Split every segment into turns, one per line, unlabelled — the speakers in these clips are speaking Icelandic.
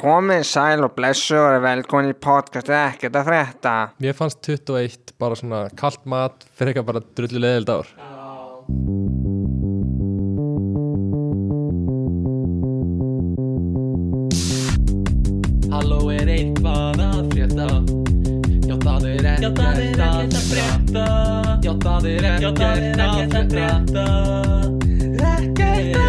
komið sæl og blessu og eru velkomin í podcastið ekkert að frétta
Mér fannst 21 bara svona kalt mat fyrir eitthvað bara drullu leðild ár
Halló er eitthvað að frétta Já það er ekkert að frétta Já það er ekkert að frétta Ekkert að frétta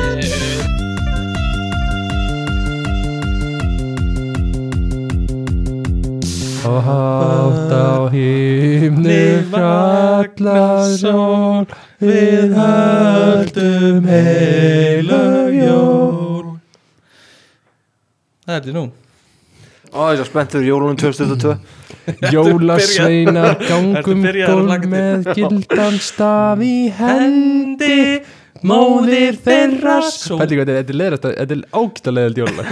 Og hátt á himnu fjallar sól Við höldum heilög jól
Það er þetta nú
Ó, ég er svo spenntur jólunum 2002
Jólasveinar gangum
Ertu byrjaður að
gól
hlakka til?
með gildan staf í hendi Móðir þeirra sól Pæli hvað þetta er, þetta er leðrast, þetta er ágæta leðild jólulag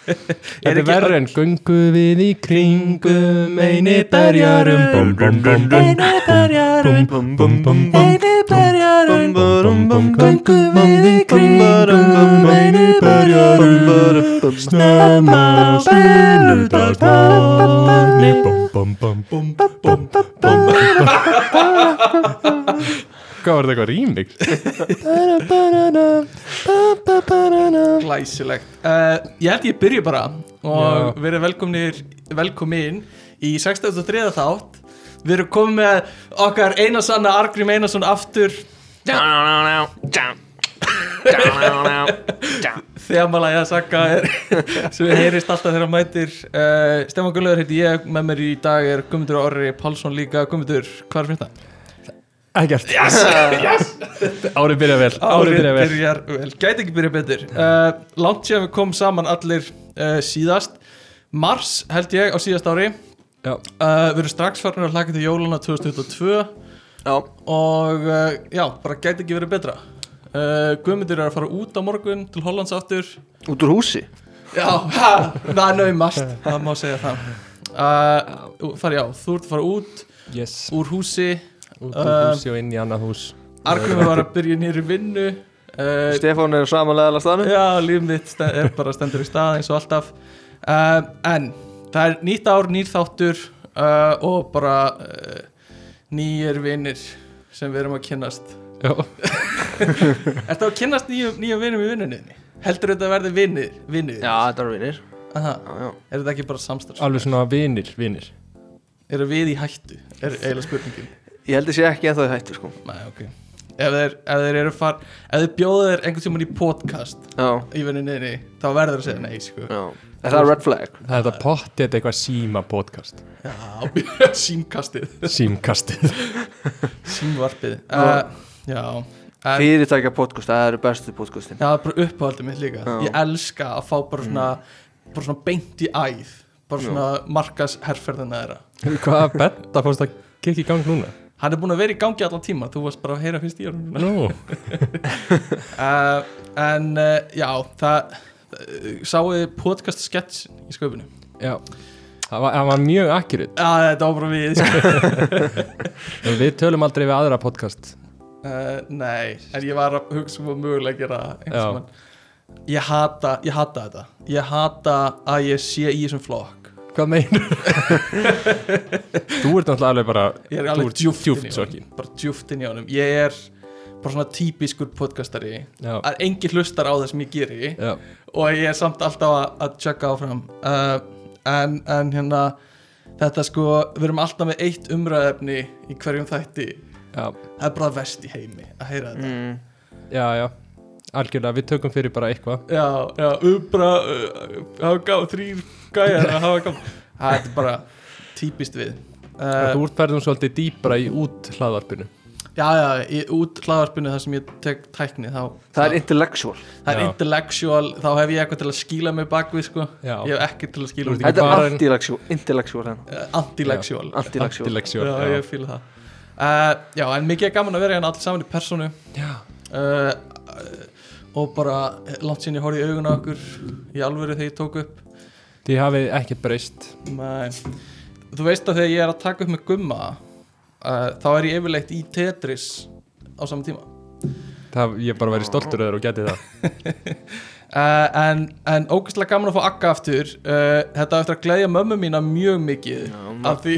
Þetta er
ekki
verra en Göngu við í kringum eini berjarum Bum bum bum bum
Einu berjarun
Bum bum bum bum
Einu berjarun
bum bum
Göngum við í kringum Einu berjarun Snemma sunnudagsmorni
Hvað var þetta eitthvað rýmix?
Glæsilegt uh, Ég held ég byrju bara og verið velkomnir velkomin í 63. þátt Við erum komið með okkar einasanna Argrím Einarsson aftur Þemalæja Sakka er sem við heyrist alltaf þegar hann mætir uh, Stefán Gullaður heiti ég með mér í dag er Guðmundur Orri Pálsson líka Guðmundur, hvað er fyrir þetta?
Ekkert yes, yes. Árið byrja vel Árið
Árið
byrja vel
byrjar vel, gæti ekki byrja betur uh, Langt séðan við komum saman allir uh, síðast Mars held ég á síðast ári
Já.
Uh, við erum strax farin að hlaka til jólana 2022
Já,
og uh, já, bara gæti ekki verið betra uh, Guðmundur er að fara út á morgun til Hollands aftur
út úr húsi
Já, ha, það er naumast, það má segja það uh, fari, já, Þú ert að fara út
Yes
úr húsi
Út úr
Um,
húsi og inn í annað hús
Argrimi var að byrja nýri vinnu uh,
Stefán er á sama leðala staðnum
Já, líf mitt sten- er bara stendur í stað eins og alltaf uh, En það er nýtt ár, nýr þáttur uh, og bara uh, nýjir vinnir sem við erum að kynnast
Já
Ertu að kynnast nýjum, nýjum vinnum í vinnuninni? Heldur þetta að verði vinnir? vinnir?
Já, þetta eru vinir
Aha,
Já, já.
er þetta ekki bara samstarf?
Alveg svona vinir, vinir
Eru við í hættu? Er eiginlega spurningin
Ég held ég sé ekki ennþá í hættu sko
Nei, ok Ef þeir, ef þeir eru far Ef þeir bjóða þeir einhvern tímann í podcast
Já,
í vinnuninni þá verður þeir að segja nei, sko
já Er það red flag?
Það er þetta pottið eitthvað síma podcast
Já, símkastið
Símkastið
Símvarpið uh, Já en,
Fyrirtækja podcast, það eru bestu podcastin
Já, það er bara uppáhaldið mitt líka
Já.
Ég elska að fá bara svona bara svona beint í æð bara svona markas herrferðina þeirra
Hvað betta fórst að kikki í gang núna?
Hann er búin að vera í gangi allan tíma þú varst bara að heyra fyrst í honum núna.
Nú
uh, En uh, já, það uh, sáu þið podcast sketch í sköpunum
Já Það var, það var mjög akkurat
Já, þetta var bara við sko.
Við tölum aldrei við aðra podcast
uh, Nei, en ég var að hugsa um að mögulega gera það einhvers
Já.
tímann. Ég hata, ég hata þetta Ég hata að ég sé í þessum flokk
Hvað meinur? þú ert náttúrulega alveg bara
Ég er
Þú
alveg
ert
djúft
djúpt
inn í
sokkin.
honum Bara djúft inn í honum Ég er bara svona típiskur podcastari
Já,
að engi hlustar á það sem ég geri
já
og ég er samt alltaf að, að tjökka áfram uh, en, en hérna þetta sko, við erum alltaf með eitt umræðefni í hverjum þætti
Já,
það er bara vest í heimi að heyra þetta
Mm.
já, já Algjörlega, við tökum fyrir bara eitthvað
já, já, umbra uh, hafa gá, þrýr gæjar að hafa gá það er bara típist við
uh,
uh,
Þú útferðum svolítið dýpra í út hlaðarpinu
já, já, í, út hlaðarpinu þar sem ég tek tækni þá,
Það er intellectual
það er
Já.
intellectual þá hef ég eitthvað til að skýla mig bakvið sko.
Já,
ég hef ekki til að skýla
Þú
mig
ert
Þetta
bara
er
en-
antilectual Intellectual hérna
uh, antilectual
Antilectual
antileksjón
já,
já.
ég fýla það uh, já, en mikið er gaman að vera hérna allir saman í personu
já.
uh, uh, og bara eh, langt sín ég horfði í augun á okkur í alvöru þegar ég tók upp
Þið hafið ekkert breyst
Men, þú veist að þegar ég er að taka upp með gumma uh, þá er ég yfirleitt í Tetris á saman tíma
Það, Ég bara væri stoltur öður og geti það
uh, en, en ógæslega gaman að fá Akka aftur uh, þetta á eftir að gleðja mömmu mína mjög mikið af því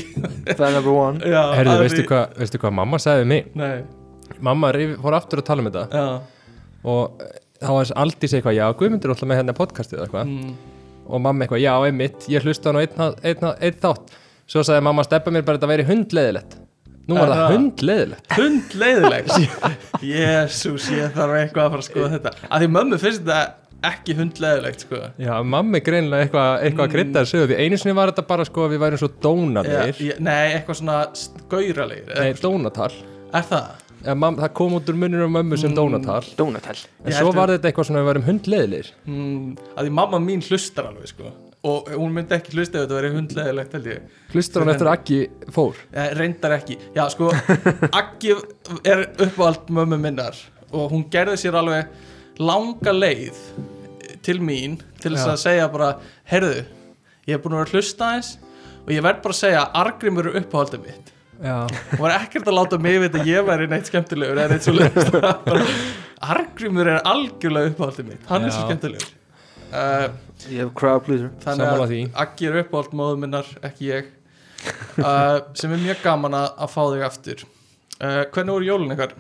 Það er number one
já,
Herðu,
af
veistu
því-
hvað veistu hvað mamma sagði við mig?
Nei,
Mamma rif, fór aftur að tala um þetta
já,
og eh, þá var aldrei segið eitthvað, já, Guðmundur er alltaf með hérna podcastið eða eitthvað
mm,
og mamma eitthvað, já, einmitt, ég hlusta hann á einn, einn, einn þátt svo sagði mamma að steppa mér bara að þetta væri hundleðilegt nú var
Er
það
það?
hundleðilegt
hundleiðileg Jésús, ég þarf eitthvað að fara að skoða þetta af því mömmu finnst þetta ekki hundleiðilegt sko.
já, mamma er greinilega eitthvað eitthva að krydda þessu því einu sinni var þetta bara sko að við værum svo
Já,
dónalir
ég, nei, eitthvað svona gauralegir
nei, dónatal
Er það?
ja, Eh, mam, það kom út úr munir á mömmu sem dónatal
Donatell
en
Mm. Ég
svo
held
var þetta eitthvað svona að við værum hundleðilir
Mm, að því mamma mín hlustar alveg sko. og hún myndi ekki hlusta ef þetta verið hundleðilegt held ég
hlustar hann eftir að Aggi fór
Eh, reyndar ekki já sko, Aggi er uppáhald mömmu minnar og hún gerði sér alveg langa leið til mín til
Já.
þess að segja bara herðu, ég er búin að vera að hlusta eins og ég verð bara að segja að Argrimur er uppáhaldið mitt
já,
hún var ekkert að láta mig vita að ég væri neitt skemmtilegur eða neitt svo leiðist Argrimur er algjörlega uppáhaldið mitt hann er
Já.
svo skemmtilegur uh,
Ég hef crowd pleaser
þannig
Sammála
að
því.
Aggi er uppáhald móðu minnar, ekki ég uh, sem er mjög gaman að, að fá þig aftur uh, hvernig voru jólun ykkar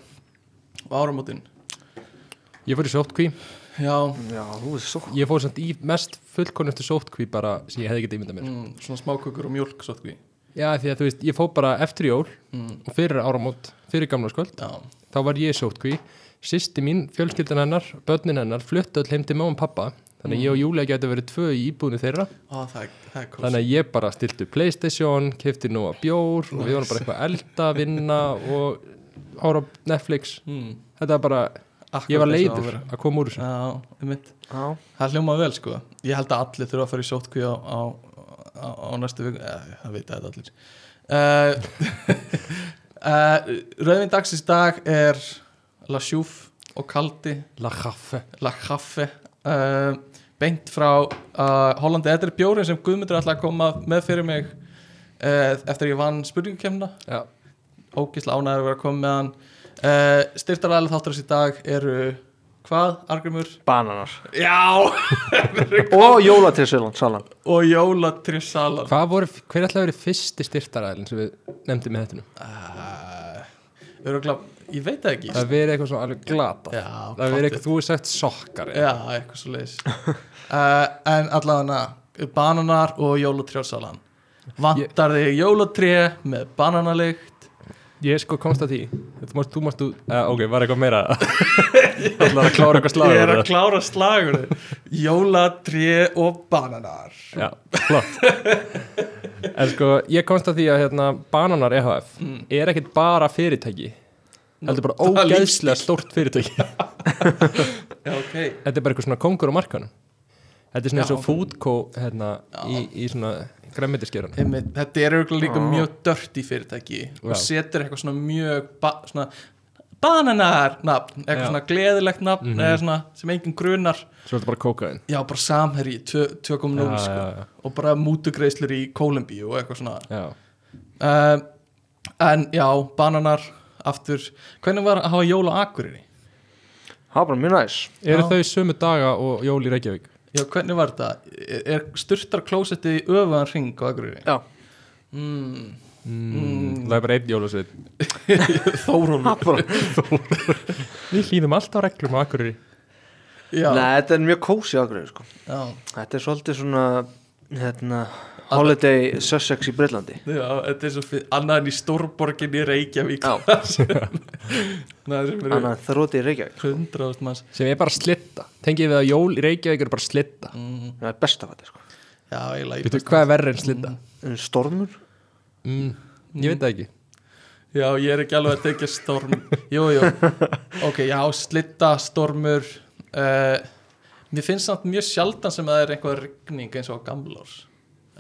og áramótin
ég fór í sótkví
já,
Já, þú er svo
ég fór samt í mest fullkonustu sótkví bara sem ég hefði getið ímyndað mér
mm, svona smákökur og mjölk svo því
já, því að þú veist, ég fór bara eftir jól
mm,
og fyrir áramót, fyrir gamlarskvöld
já,
þá var ég í sótkví, sýsti mín fjölskyldan hennar, börnin hennar, fluttu öll heim til mamma og pappa, þannig
Mm.
að ég og Júlia gæti verið tvö í íbúinu þeirra,
Á, það, er- það er kósi
þannig að ég bara stiltu Playstation, kefti nú að bjór og við vorum bara eitthvað að elda, vinna og ára á Netflix
mm,
þetta var bara, ég var
akkurat eins og á að
leiður
vera.
að koma úr þessu
já, um mitt
Já,
það hljóma vel sko ég held að allir þurfa að fara í sótkví á, á, á, á næstu viku eh, það vita þetta allir uh, uh, rauðvin dagsins dag er La Chouf og Kaldi
La Caffe
La Caffe uh, beint frá uh, Hollandi, þetta er bjórin sem Guðmundur ætlaði að koma með fyrir mig uh, eftir að ég vann spurningukemna
já,
ógisla ánæður að vera að koma með hann uh, styrtaræðilega þátturins í dag eru hvað, Argrymur?
bananar
Já!
Og jólatrisvelan, salan
og jólatrissalan
hvað voru, hver ætlaði að verið fyrsti styrtaræðin sem við nefndum með þetta nú?
uh, örugla, ég veit það ekki
það verið eitthvað svona alveg glata
já,
það verið eitthvað, þú er sagt sokkar
já, eitthvað svo leiðis uh, en allavega bananar og jólatrjálsalan vantar þig jólatré með bananalykt
Ég sko komst að því Þú mást, þú mást, þú, uh, ok, var eitthvað meira Það ætlaði að klára eitthvað slagur
ég er að
eða?
klára slagur jólatré og bananar
Já, flott En sko, ég komst að því að hérna, Bananar EHF
Mm.
er ekkit bara fyrirtæki Heldur bara
það er
ógeðslega stórt fyrirtæki Þetta
já, ok
er bara eitthvað svona kongur á markanum Þetta er svona
Já.
eins og foodco hérna, í, í svona græmmetiskerun
Einmitt, þetta er auðvitað líka mjög dört í fyrirtæki og
Ah. Já.
setur eitthvað svona mjög ba svona bananar nafn, eitthvað
Já. Mhm.
svona gleðilegt nafn eða svona sem enginn grunar
Svo er þetta bara kókaðin
Já, bara samherji, 2.0
Já,
sko.
já, já.
og bara mútugreislur í Kólumbíu og eitthvað svona
Já,
uh, En já, bananar aftur, hvernig var að hafa jól á Akureyri?
Það er bara mjög næs
eru
Já.
þau sömu daga og jól í Reykjavík?
Já, hvernig var þetta? Er, er styrtar klósetti í öfugan ring á Akureyri?
Já
Mm,
Mm. Það er bara einn jólasveit
Þórólfur
Við hlýðum alltaf reglum á Akureyri
Já,
Nei, þetta er mjög kósi ágrið, sko
já,
Þetta er svolítið svona hérna, Holiday Sussex í Breitlandi
já, þetta er svo fyrir annað en í stórborginni Reykjavík
Já.
Nei, sem eru
Þannig að það róti í Reykjavík
100.000 manns
sem er bara slitta tengið við að jól í Reykjavík er bara slitta
mm,
Það er best af þetta sko
Já, eiginlega
veitu hvað er verri en slitta
En stormur
mm. ég veit það ekki
Já, ég er ekki alveg að tekja storm Jú, jú, ok, já, slitta, stormur uh, Mér finnst samt mjög sjaldan sem að það er einhver rigning eins og á gamlárs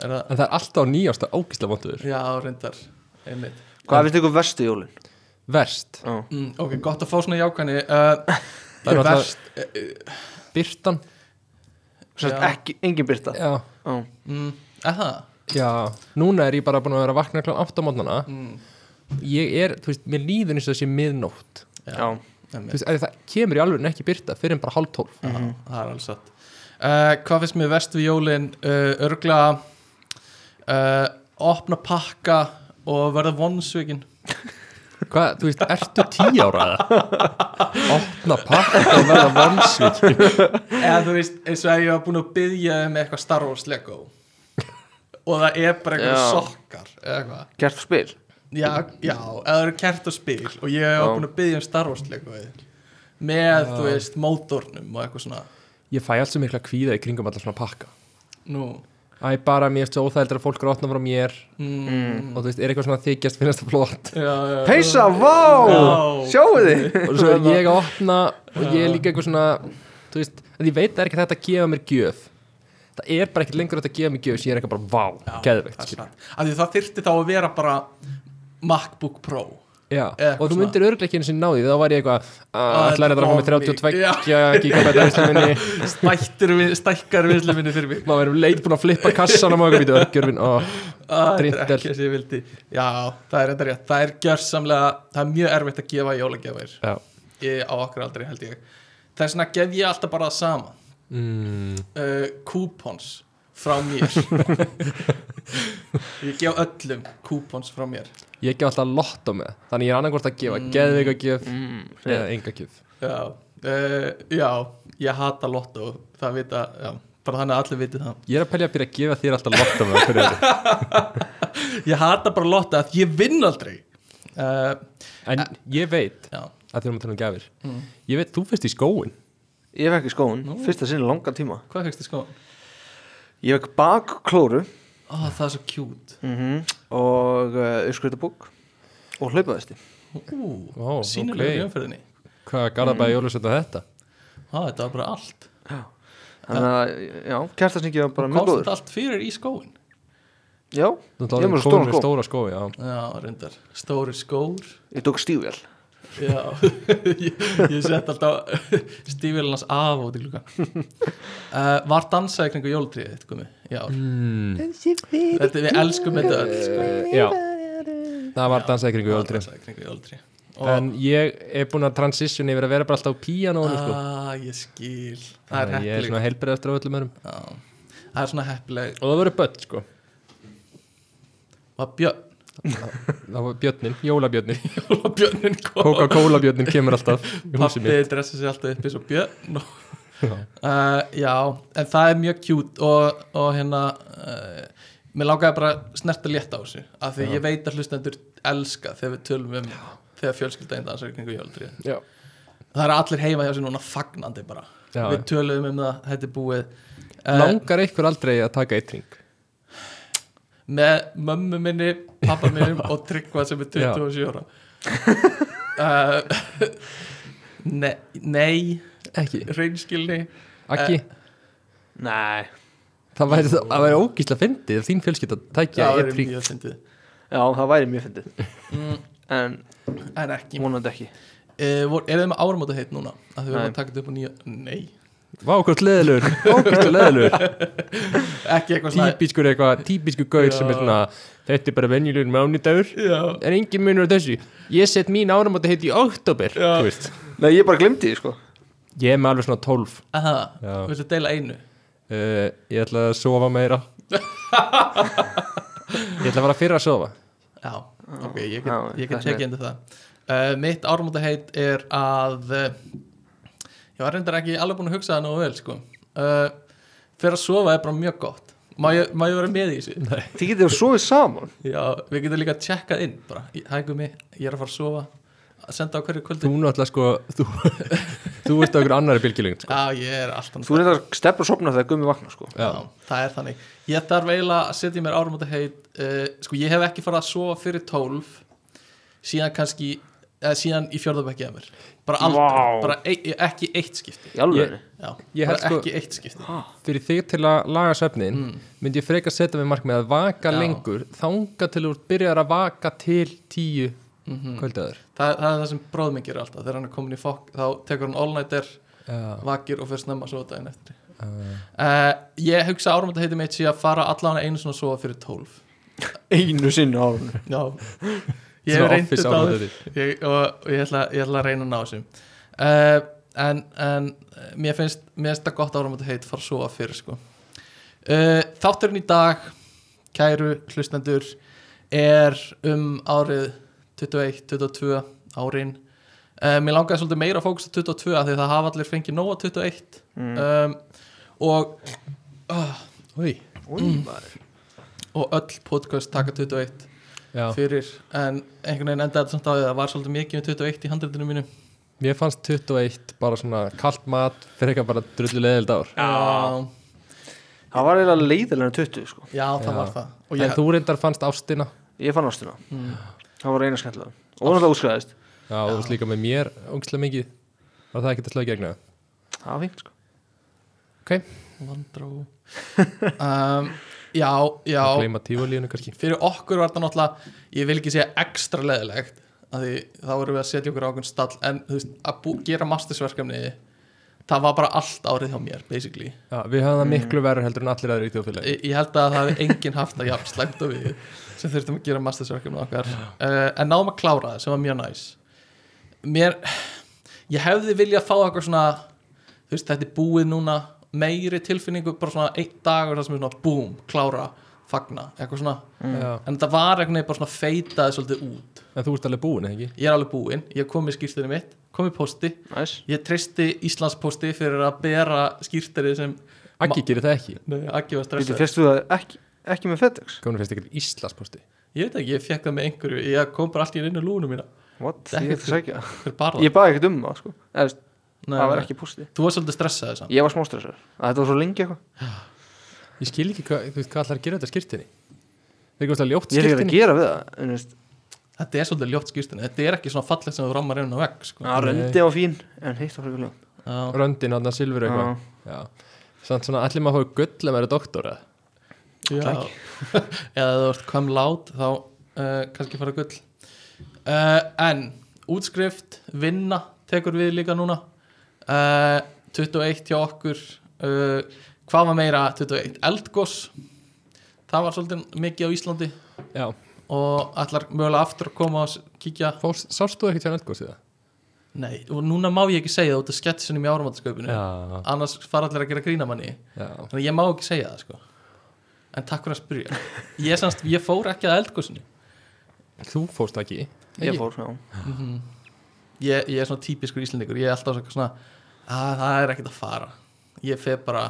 Er það?
en það er alltaf á nýjásta ógislega vondur
Já, reyndar, einmitt
Hvað finnst ykkur verstu jólin?
verst,
Já.
mm, Ok, gott að fá svona jákvæðni uh,
Það er náttúrulega-
verst
byrtan
Sest,
Já.
ekki, engin byrta
já.
Já.
mm, Er það?
já, núna er ég bara búin að vera að vakna kláðan 8 á mótnana
Mm,
ég er, þú veist, mér líður eins og það sé miðnótt
já,
Já.
þú
einmitt Mm.
veist, af því það kemur í alveg ekki byrta fyrir en bara hálf tólf
Já, Það er alveg satt uh, Hvað finnst mér verst við jólin? Uh, örgla uh, Opna pakka og verða vonsvikin
Hvað, þú veist, ertu tí ára eða? Opna pakka og verða vonsvík
Eða þú veist, eins og að ég var búin að byggja með eitthvað Star Wars Lego Og það er bara eitthvað
Já.
sokkar Eða eitthvað
Gert og spil
Já, já, eða það eru kert og spil og ég hef
Já.
búin að byggja um Star Wars leikvæði með, þú veist, mótornum og eitthvað svona
Ég fæ alls um mikla kvíða í kringum allar svona pakka
Nú,
Æ, bara mér er svo óþældur að fólk er að opna frá mér
Mm.
og þú veist, er eitthvað svona að þykjast finnast það flott
mm, já, já, já.
Peysa, vá,
Já.
sjáu þið
og svo er ég að opna og ég er líka eitthvað svona þú veist, að ég veit það er ekki þetta að gefa mér gjöf það er bara ekkert lengur þetta að gefa mér gjöf sem ég er eitthvað bara, vá,
Já,
geðveikt
það er
skilur.
satt. Af því það þyrfti þá að vera bara MacBook Pro
Já,
Eða
og
eitthvað
þú myndir örglega ekki eins og náði þá var ég eitthvað, ætlar Ah, þetta að koma með
þetta var
32 gigabæta einsluminni
Stættur, við- stækkar vinslu minni fyrir mig
maður verður leit búin að flippa kassan á maður býtu örgjörfin og
Ah, þetta er
Drindel.
ekki sem ég vildi Já, það er enda rétt, það er gjörsamlega það er mjög erfitt að gefa jólagjafir
já,
ég, á okkar aldrei held ég það er svona að gef ég alltaf bara það sama
mm,
uh, kúpons frá mér ég gef öllum kúpons frá mér
ég gef alltaf lott á með þannig ég er annarkvort að gefa mm. geðveika gjöf eða enga gjöf
já, uh, já ég hata lotto það vita, já, bara þannig að allir viti það
ég er að pelja að byrja að gefa þér alltaf lott á með fyrir þér
ég hata bara lotto að ég vinn aldrei uh,
En ég veit
já,
að þér erum að tala um gafir Ég veit, þú fyrst í skóin
Ég fekk í skóin, fyrsta sinni langan tíma
hvað fegst þið sko?
Ég fekk bakklóru
Ó, það er svo kjút
mm og uh, uppskritabók og hlaupaðasti
Ó,
Ú, sínilega
ok.
í umferðinni
Hvað garðabæði mm. jólusönda þetta?
Á, þetta var bara allt
Þannig að, já, kærtasningi var bara
og
mjög
komst
góður
þetta allt fyrir í skóin
Já,
Þú
ég var með stóran skó
stóra skói, já
já, reyndar, stóri skór
Ég tók stífvél
Já, ég, ég sett alltaf stífélarnas af út í klukka uh, Var dansaði kringu jólutriðið þitt komi? Já,
mm.
þetta, við elskum þetta öll sko.
Já Það var dansað kringu
Var
jólusönda
dansaði kringu jólutriðið
En ég er búin að transition yfir að vera bara alltaf á píanónu sko.
ah, Ég skil Það er
Ég er
heppileg
svona helbriðastur á öllum örum
Já, Það er svona heppileg
Og það voru börn, sko
Var björn,
Það var björnin, jólabjörnin
jólabjörnin kom
Coca-Cola björnin kemur alltaf í húsið
Pappi
mitt
dressa sér alltaf upp eins og björn og,
Já.
uh, Já, en það er mjög kjút og, og hérna uh, Mér lákaði bara að snerta létt á þessu af því ég veit að hlustendur elska þegar við tölum um þegar fjölskyldaðin dansar kringu jólutrið
Já,
Það er allir heima hjá sér núna fagnandi bara
já
Við tölum um það, þetta er búið uh,
Langar einhver aldrei að taka eitt ring?
með mömmu minni, pappa minnum og tryggva sem er 27 ára uh, Nei, nei
Ekki
reynskilni
Akki,
Nei
það væri, það væri ógísla fyndið ef þín fjölskylda tækja
það
eitt
er
ring
mjög fyndið
Já, það væri mjög fyndið
Mm.
En
en ekki uh,
vonandi ekki
eh, vor, er þið með áramóta heitt núna að þið verðum
Nei.
að taka þetta upp á nýja nei,
Vá, hvort leðilur, ógæstu leðilur
ekki eitthvað svona
Típiskur eitthvað, típiskur gaur sem er
Já.
svona Þetta er bara venjulegur mánudagur
já,
En engin munur á þessu Ég set mín áramóti heiti í oktober
Já.
þú veist.
Nei, ég bara glemdi því, sko
Ég er með alveg svona 12 uh,
aha,
Já.
viltu deila einu
Ég ætla að sofa meira Ég ætla að fara fyrra að sofa
já, ok, ég
Já,
get, ég
það
get
er
tekið
neitt.
undir það uh, mitt áramóta heitt er að uh, ég var reyndar ekki alveg búin að hugsa það nú vel sko uh, fyrir að sofa er bara mjög gott má ég, má ég vera með í þessu nei.
Þið getið að sofið saman
já, við getum líka að tjekkað inn bara, hægum mig, ég er að fara að sofa senda á hverju kvöldi
Þú náttúrulega sko Þú, þú veist okkur annari bylgilöng sko.
já, ég er alltaf
Þú reyndar stefn og sopna þegar gummi vakna, sko
Já.
Já, það er þannig Ég þarf eiginlega að setja í mér árum á þetta heit uh, Sko, ég hef ekki farið að sofa fyrir tólf Síðan kannski eða síðan í fjörðabækki að mér Bara aldrei,
Vá.
bara e ekki eitt skipti
Í alveg
Já,
Ég
bara
held sko-
ekki eitt skipti
Fyrir þig til að laga svefnin myndi ég freka að setja mig markmið að vaka
Já.
lengur þanga til þú byrjar að vaka til tíu mm -hmm.
Mhm. það, það er það sem bróð minn gerir alltaf Þegar hann er komin í fokk, þá tekur hann all-nighter Vakir og fyrir snemma að sofa daginn eftir
Eh,
uh, Ég hugsa árum á þetta heiti mitt Sér að fara allan einu svona að sofa fyrir tólf
Einu sinni á hann
Já, ég hef reyndið þetta áður
þér
ég, og, og ég, ætla, ég ætla að reyna að ná þessum uh, en, en eh, mér finnst mér finnst það gott árum að heit fara svo að fyrir sko. uh, þátturinn í dag kæru hlustendur er um árið 21, 22 árin uh, mér langaði svolítið meira að fókus á 22 af því það hafa allir fengið nóg að 21 um, og uh,
Új,
og öll podcast taka 21
já,
fyrir en einhvern veginn endaði þetta samt á því að það var svolítið mikið um 21 í handreitinu mínu
mér fannst 21 bara svona kalt mat fyrir eitthvað bara drullu leðild ár
Já,
Það var eiginlega leiðilega en 20 sko.
já það
Já.
var það og
En
ég,
þú reyndar fannst ástina
Ég fann ástina,
Mm.
það var eina skemmtilega Og náttúrulega útskæðist,
Já, þú varst líka með mér ógislega mikið Var það ekkert að slöga gegna það?
það var fínt sko.
Ok,
Vandró um, Já, já
að gleyma tífólíðinu kannski
Fyrir okkur var það náttúrulega Ég vil ekki segja ekstra leðilegt Því þá erum við að setja okkur á okkur stall En þú veist, að bú, gera mastersverkefni Það var bara allt árið hjá mér Basically
Já, við höfum það miklu verður heldur en allir aðri í þjóðfélagi
Ég, ég held að það hefði enginn haft það jafn slæmt og við sem þurftum að gera mastersverkefni okkar uh, en náðum að klára það sem var mjög næs mér ég hefði viljað fá eitthvað svona þú veist þetta er búið núna meiri tilfinningu, bara svona einn dagur það sem er svona búm, klára, fagna eitthvað svona,
Já.
en þetta var einhvern veginn bara svona feitaði svolítið út
En þú ert alveg búin, eða ekki?
ég er alveg búinn, ég kom í skýrstunni mitt kom í posti,
Næs,
ég treysti Íslandspósti fyrir að bera skýrtari sem
Aggi gerir það ekki
Nei, Aggi var
Býtu,
stressað
fyrst þú það ekki, ekki með FedEx?
Kominu finnst ekkert Íslandsposti
Ég veit ekki, ég fekk það með einhverju Ég kom bara allt í inn í lúnu mína
What?
Ekki
Ég ætti að sækja
Hver bar það?
Ég baði ekkert um það sko. Eða,
Nei,
það var
nei.
ekki pústi
Þú var svolítið stressað þess að
Ég var smástressur, að þetta var svo lengi eitthvað
Ég skil ekki hvað, þú veist, hvað allar að gera þetta skýrtinni Það er ekki óslega ljótt
Ég er ekkert að
skýrtinni
gera við það en, þú veist,
Þetta er svolítið ljótt skýrstunni Þetta er ekki svona fallegt sem þú rammar inn á vegg sko.
Það röndi á fín, en heitt á frekar ljótt
Já.
Röndin, aðna silfur eitthvað Já, samt svona allir maður fóðu gull að vera doktora
Já. Eða þú ert kom lát Þá uh, kannski fara gull uh, En útskrift, vinna Tekur við líka núna uh, 21 hjá okkur uh, Hvað var meira 21? Eldgoss Það var svolítið mikið á Íslandi
Já,
og ætlar mögulega aftur að koma og s- kíkja
Fórst, sástu ekkert hjá nættgósið það?
Nei, og núna má ég ekki segja það út af sketsunum í áramáttasköpunum
Já,
annars fara allir að gera grína manni
já
þannig að ég má ekki segja það sko en takk fyrir að spyrja ég, sanst, ég fór ekki að eldgóðsinu
Þú fórst ekki
Ég fór, já
ég, ég er svona típiskur íslendingur ég er alltaf svona- svona að það er ekkert að fara ég fer bara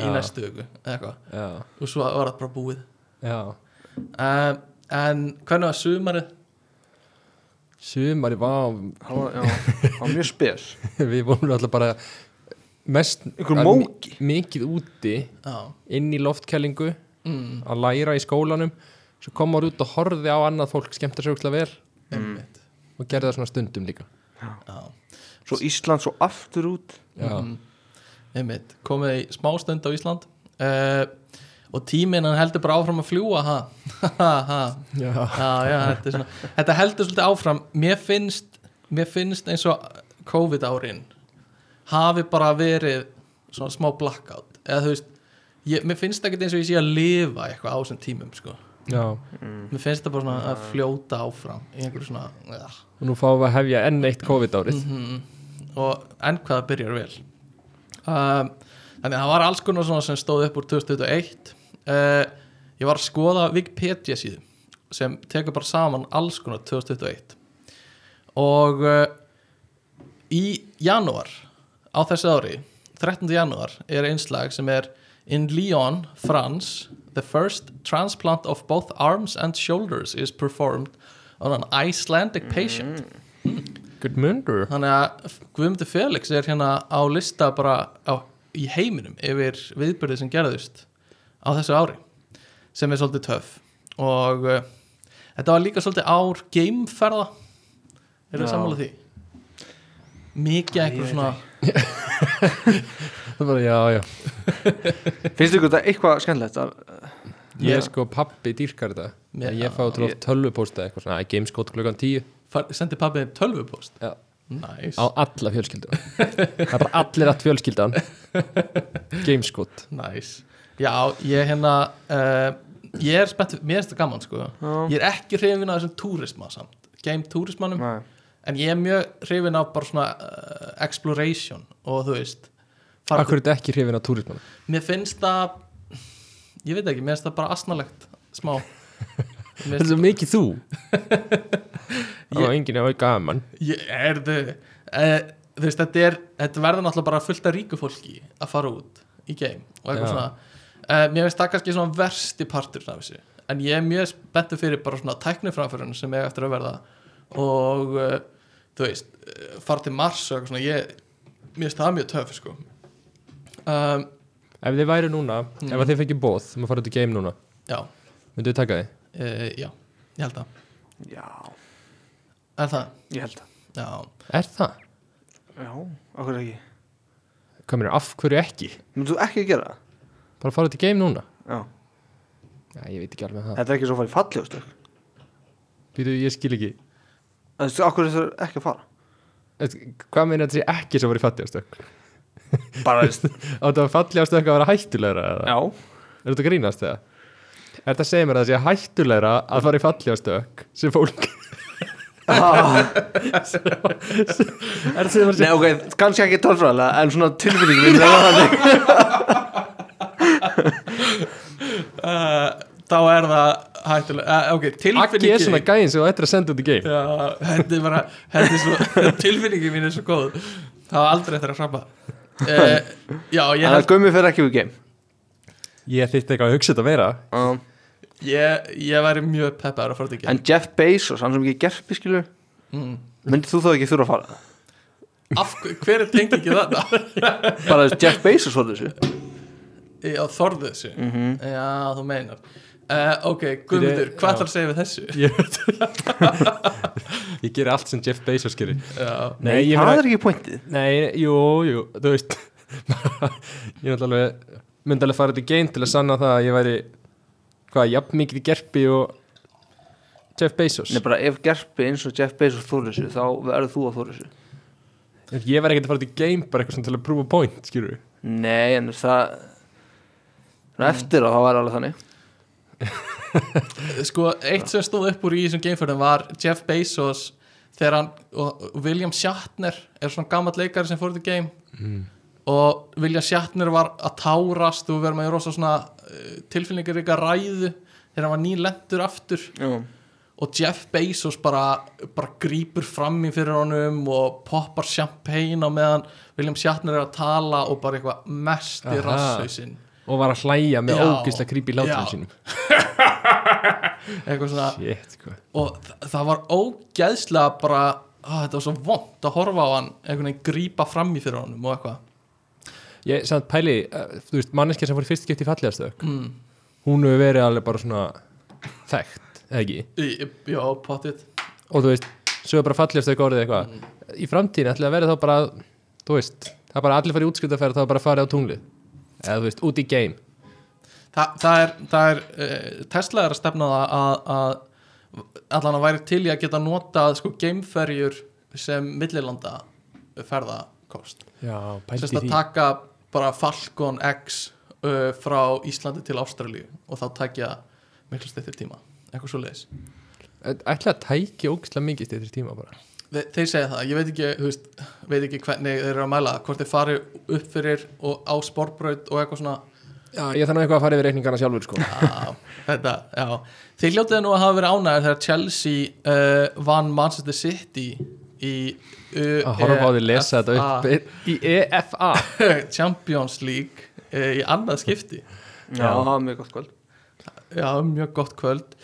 í
Já.
næstu öku og
Já,
svo var það bara búið
já
um, en hvernig var sumarið?
Sumari, vá,
Það var, já, það var mjög spes
við vorum alltaf bara mest
Ykkur
að
móki.
mi- mikið úti
Já,
inn í loftkælingu
mm,
að læra í skólanum svo kom maður út og horfði á annað fólk skemmta sér úkslega vel
einmitt
og gerði það svona stundum líka
Já.
Svo Ísland svo aftur út
já,
Mhm. einmitt, komið í smástund á Ísland uh, og tíminn hann heldur bara áfram að fljúa ha? Ha, ha.
já.
já, já, þetta, er svona, þetta heldur svolítið áfram mér finnst, mér finnst eins og COVID árin hafi bara verið svona smá blackout eða þú veist, ég, mér finnst ekkert eins og ég sé að lifa eitthvað á þessum tímum sko.
já.
mér finnst það bara svona að fljóta áfram í einhverju svona ja.
og nú fáum við að hefja enn eitt COVID-árið
Mhm. og enn hvað það byrjar vel um, þannig að það var alls konar svona sem stóð upp úr 2021 uh, ég var að skoða Wikipedia síðu sem tekur bara saman alls konar 2021 og uh, í janúar á þessu ári 13. janúar er einslag sem er In Lyon, France the first transplant of both arms and shoulders is performed on an Icelandic patient
good mundur
Þannig að Guðmundur Felix er hérna á lista bara á, í heiminum yfir viðbyrðið sem gerðust á þessu ári sem er svolítið töff og uh, þetta var líka svolítið ár geimferða eru það
Já.
sammála því? Mikið
ég
eitthvað
veit
svona
það var já, já
Finnst ykkur þetta eitthvað skemmtilegt að
ég
Já.
er sko pappi dýrkar þetta
Já.
ég fá til oft tölvupósta eitthvað svona að gameskótt klukkan 10
far- sendi pappið tölvupost
Já.
Næs,
á alla fjölskyldan það er bara allir að fjölskyldan gameskótt
næs Já, ég hérna uh, ég er spennt, mér finnst það gaman sko
Já.
ég er ekki hrifin að þessum túrisma samt game túrismanum
Nei.
en ég er mjög hrifin af bara svona uh, exploration og þú veist fara-
Akkur er þetta ekki hrifin af túrismann
mér finnst það ég veit ekki, mér finnst það bara asnalegt smá
Þetta er
Mér finnst-
svo mikið þú Það
Ég-
var enginn að vera gaman
ég er þau eh, þú veist, þetta er, þetta verður náttúrulega bara fullt af ríku fólki að fara út í game og eitthvað
Já.
svona uh, mér finnst það kannski svona versti partur af þessu, en ég er mjög spenntu fyrir bara svona tækniframförun sem ég eftir að verða og uh, þú veist, uh, fara til Mars og eitthvað svona, ég, mér finnst það mjög töf sko um,
Ef þið væri núna,
Mhm.
ef að þið fengið bóð um að fara út í game núna,
já,
myndu þið taka því?
uh, já ég held að,
Já,
er það
ég held að
já,
Er það?
Já, okkur ekki
Hvað mér, af hverju ekki?
Myndu ekki gera það?
Bara fara út í game núna?
Já,
Já, ég veit ekki alveg það
þetta er ekki svo farið fallið og stökk
Býtu, ég skil ekki
Þú veist, okkur þessar ekki að fara
Þetta- Hvað meina þetta sé ekki sem var í fattigastökk?
Bara, veist
Áttu að fattigastökk að vera hættulegra eða?
Já,
Er þetta að grínast eða? Er þetta að segja mér að það sé hættulegra að fara í fattigastökk sem fólk Er þetta að segja mér að
nei
segja
ok, kannski ekki tölfræðilega En svona tilfinning minn er það
uh, þá er það hættulega, uh, ok, tilfinningin
Akki er svona gæðin sem þú ættir að senda út í game
Já, þetta er bara þetta er svo, tilfinningin mín er svo góð það var aldrei eftir að hrappa uh, já, ég
En að
held
gummi fer ekki við game
Ég þýtti eitthvað að hugsa þetta meira
um,
ég, ég væri mjög peppaður að fara til
En Jeff Bezos, hann sem ekki gerpi skilur
Mm.
Myndir þú þá ekki þurfa að fara?
Af, hver- hver er tengi ekki þarna?
Bara þess Jeff Bezos var þessu
já, þorðu þessu já, þú meinar uh, ok, Guðmundur,
Ég-
hvað
já.
ætlar að segja við þessu?
Ég veit Ég gerir allt sem Jeff Bezos gerir
já,
Nei, ég
Það
meina
er ekki pointið
Nei, jú, jú, þú veist Ég myndi alveg myndi alveg fara út í game til að sanna það að ég væri hvað, jafn mikið í gerpi og Jeff Bezos
Nei, bara ef gerpi eins og Jeff Bezos þóru þessu Þá verður þú að þóru þessu
Ég væri ekkert að fara út í game bara eitthvað svona til að prúfa point, skilur við
Nei, en það Ná, Eftir á það var alveg þannig
sko, eitt sem stóð upp úr í þessum geimförðum var Jeff Bezos þegar hann, og og William Shatner er svona gammal leikari sem fór þetta game og William Shatner var að tárast og verður maður rosa svona eh, tilfinningar ykkar ræðu þegar hann var nýlendur aftur
Já,
og Jeff Bezos bara, bara grýpur fram í fyrir honum og poppar champagne á meðan William Shatner er að tala og bara eitthvað mest í
Aha.
rasshausinn
og var að hlæja með
Já.
ógislega creepy
Já.
látum sínum
eitthvað svona
Shit, sko. hvað
og þa- það var ógeðslega bara að þetta var svo vond að horfa á hann einhvern veginn grípa fram í fyrir honum og eitthvað
Ég, samt pæli, uh, þú veist, manneskja sem fór í fyrst skipt í fallegastök mm. hún hefur verið alveg bara svona þekkt, eða ekki
Í- í- já, pottit
og þú veist, svo er bara fallegastök orðið eitthvað í framtíðin ætlaði að vera þá bara þú veist, það er bara allir farið útskiptaferð þá er bara farið á tunglið eða þú veist, út í game
Þa, það er, það er uh, Tesla er að stefna það að, að allan að væri til í að geta notað sko gameferjur sem millilanda ferðakost
Já,
sérst að taka bara Falcon X uh, frá Íslandi til Ástralíu og þá takja miklu stættir tíma, eitthvað svo leiðis
Ætla að tæki ógislega mikið stið tíma bara
Þe, þeir segja það, ég veit ekki, þú veist, veit ekki hvernig þeir eru að mæla það, hvort þeir fari upp fyrir og á sporbraut og eitthvað svona
Já, ég þannig eitthvað að fara yfir reikningana sjálfur sko
á, þetta, já þeir ljótið nú að hafa verið ánægður þegar Chelsea uh, vann Manchester City í uh,
að horfa á því lesa þetta upp í E EFA
Champions League uh, í annað skipti
já það var mjög gott kvöld
Já, mjög gott kvöld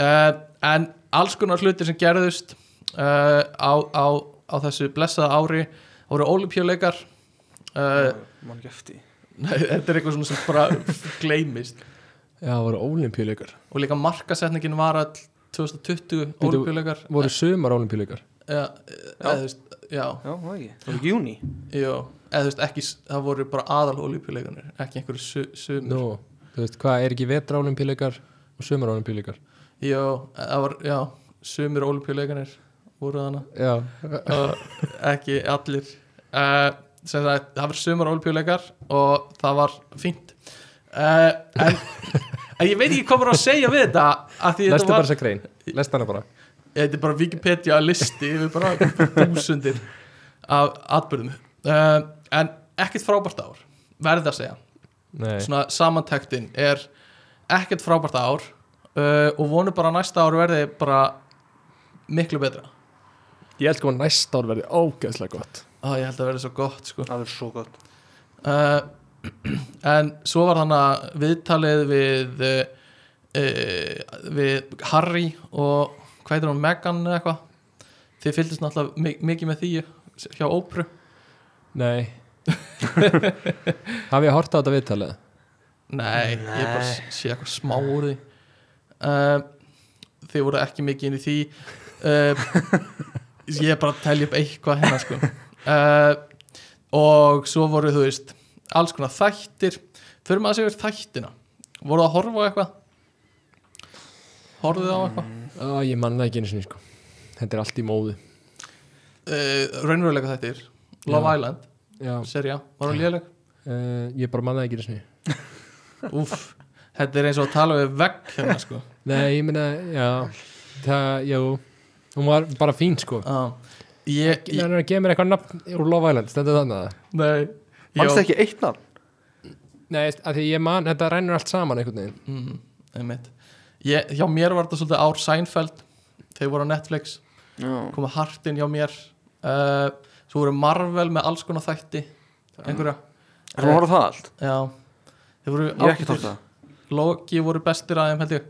uh, En alls konar hlutir sem gerðust uh, á, á, á þessu blessaða ári Það voru olimpíuleikar
Eh,
uh,
Man ekki eftir
Nei, þetta er eitthvað svona sem bara gleymist
Já, voru ólimpíuleikar
Og líka markasetningin var all 2020
Bíddu,
olimpíuleikar
Voru sumar ólimpíuleikar
Já, eða þú veist, já,
Já, það var ekki Það var ekki júni
jú Eða þú veist, ekki, s- það voru bara aðal olimpíuleikarnir Ekki einhverju su, sumur
Nú, þú veist, hvað er ekki vetra ólimpíuleikar og sumar ólimpíuleikar
Jú, það var, já, sumur olimpíuleikarnir voru þarna
Já,
og ekki allir uh, sem sagt, það var sumar olbjuleikar og það var fínt uh, en, en ég veit ekki hvað var að segja við þetta að því
lestu
þetta
bara
var
þessa grein Lestu hana bara
þetta er bara Wikipedia listi yfir bara þúsundir af atbyrðum uh, en ekkert frábært ár verði að segja,
Nei,
svona samantektin er ekkert frábært ár uh, og vonu bara að næsta ár verði bara miklu betra
ég held koma næsta ár verði ógeðslega gott
Ó, ég held að verði svo gott sko
það er svo gott
uh, en svo var þannig að viðtalið við uh, uh, við Harry og hvað heitir hún, Megan eða eitthvað þið fylgdist náttúrulega mi- mikið með því hjá Ópru
Nei Haf ég hort á þetta viðtalið?
nei, ég bara
Nei.
sé eitthvað smá úr því uh, þið voru ekki mikið inn í því uh, ég er bara að telja upp eitthvað hérna sko uh, og svo voru þú veist alls konar þættir fyrir maður að segja þættina voru að horfa á eitthvað horfðu á eitthvað
Ó, ég manna ekki einu sinni sko Þetta er allt í móðu
uh, raunverulega þættir Love
Já.
Island,
Já,
serja, var hún léleg
uh, ég bara manna ekki einu sinni
Úff, þetta er eins og að tala við vegg hérna sko
Nei, ég meina, já Það, jú Hún var bara fín sko
uh, ég,
Það
ég,
er að gefa mér eitthvað nafn úr Love Island Stendur þannig að
nei
mannst ekki eitt nafn
Nei, að því ég man, þetta rennur allt saman einhvern veginn
mm, einmitt. ég, hjá mér var þetta svolítið ár Seinfeld þeir voru á Netflix,
Já.
koma hart inn hjá mér uh, svo voru Marvel með alls konar þætti
Mm.
einhverja,
er hún að horfa á það allt?
já þeir voru
ég hef ekki tótt það
Loki voru bestir aðeim held ég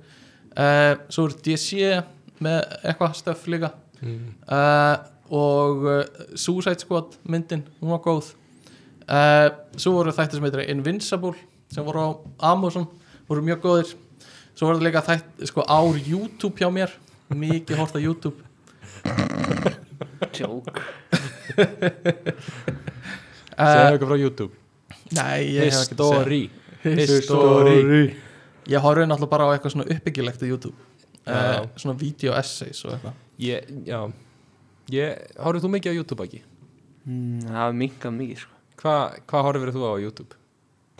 uh, svo voru DC með eitthvað stöf líka
Mm.
uh, og uh, Suicide Squad myndin, hún var góð uh, svo voru þættir sem heitir Invincible sem voru á Amazon voru mjög góðir svo voru líka þætt sko, ár YouTube hjá mér mikið hort á YouTube
Joke.
uh,
eitthvað frá YouTube
nei, ég hef ekki að segja
History
History ég horfði náttúrulega bara á eitthvað svona uppbyggilegt á YouTube uh,
Já.
svona video essays og eitthvað
Ég, já Ég, horfðu þú mikið á YouTube ekki?
Mm, það er minkað mikið sko
Hvað hva horfir þú á YouTube?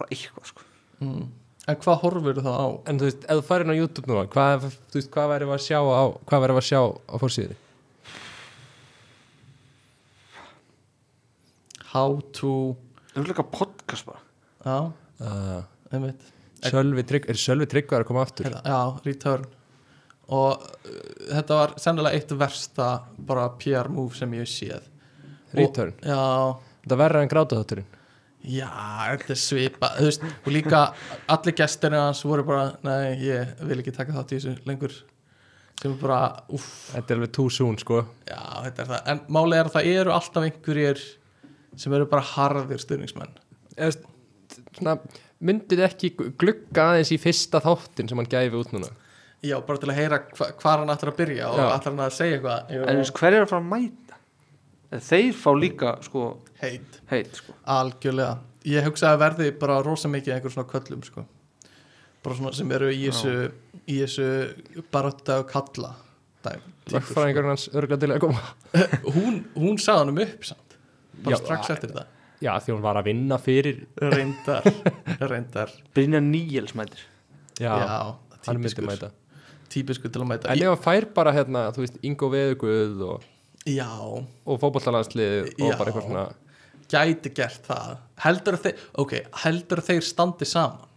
bara eitthvað sko
mm. en hvað horfur það á?
En þú veist, ef þú farir inn á YouTube núna Hvað, þú veist, hvað verðum við að sjá á Hvað verðum við að sjá á fórsýðri?
How to
auðvitað podcast bara
Já,
Uh,
einmitt
Sölvi Trygg, er Sölvi Tryggvar að koma aftur?
Hérna, Já, return Og uh, þetta var sennilega eitt versta bara PR move sem ég hef séð
Return
og, Já,
Þetta verður en gráta þátturinn
já, þetta er svipa Þú veist, og líka allir gestirna hans voru bara Nei, ég vil ekki taka þátt í þessu lengur sem er bara, uff
Þetta er alveg too soon, sko
Já, þetta er það En málið er að það eru alltaf einhverjir sem eru bara harðir stuðningsmenn
Eða, st- svona, Myndið ekki glugga aðeins í fyrsta þáttin sem hann gæfi út núna
Já, bara til að heyra hva, hvað hann ætlar að byrja og
Já.
ætlar hann að segja eitthvað
en sko- eins hver er að fara að mæta En þeir fá líka sko
Heit
heit sko
Algjörlega, ég hugsa að verði bara rosa mikið einhver svona köllum sko. bara svona sem eru í þessu í þessu barotta og kalla dæmi sko.
sko. Lagfræðingurinn hans örgulega til að koma
hún, hún sagði hann um upp samt bara
Já,
strax
að-
eftir þetta
Já, því hún var að vinna fyrir
reyndar, reyndar
Brynja Níels mætir
Já, sko.
já,
hann myndi
típiskur,
mæta
típiskur til að mæta
En ef hann fær bara hérna, þú veist, Ingo Veðuguð og,
já,
og fótballalansliðið og
Já.
bara eitthvað svona
gæti gert það heldur að þeir, ok, heldur að þeir standi saman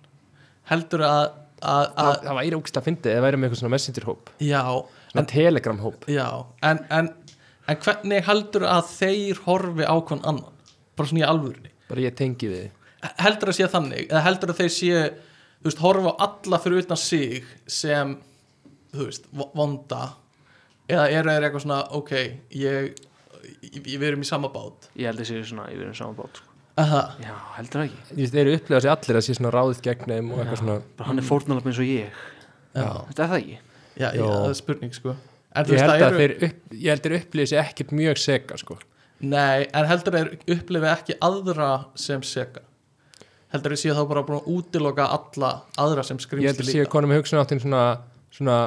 heldur að, að,
það,
að
það væri ógislega fyndið eða væri með eitthvað svona messenger hóp
já,
svona telegram hóp
Já, en, en, en hvernig heldur að þeir horfi á hvern annan? Bara svona í alvörinni.
bara ég tengi við
Heldur að sé þannig, eða heldur að þeir sé, þú veist, horfi á alla fyrir utan sig sem, þú veist, vo- vonda, eða eru þeir eitthvað svona, ok, ég, ég, ég við erum í sama bát.
ég held að séu svona ég verið saman bát sko
Aha,
já heldur það ekki
Þú veist, þeir eru upplegað sér allir að sé svona ráðið gegn þeim og eitthvað svona
bara hann er fórnalap eins og ég
já,
Mm. þetta er það ekki
já, já,
Já.
það er spurning, sko. En
ég
þú veist,
held
það
að
eru,
þeir, upp, ég held þeir upplegað sér ekkert mjög sega sko
nei, en heldur að þeir upplifi ekki aðra sem seka. Heldur að þeir séu þá bara búin að útiloka alla aðra sem
ég held
skrýmst
að séu konum með hugsun áttin svona svona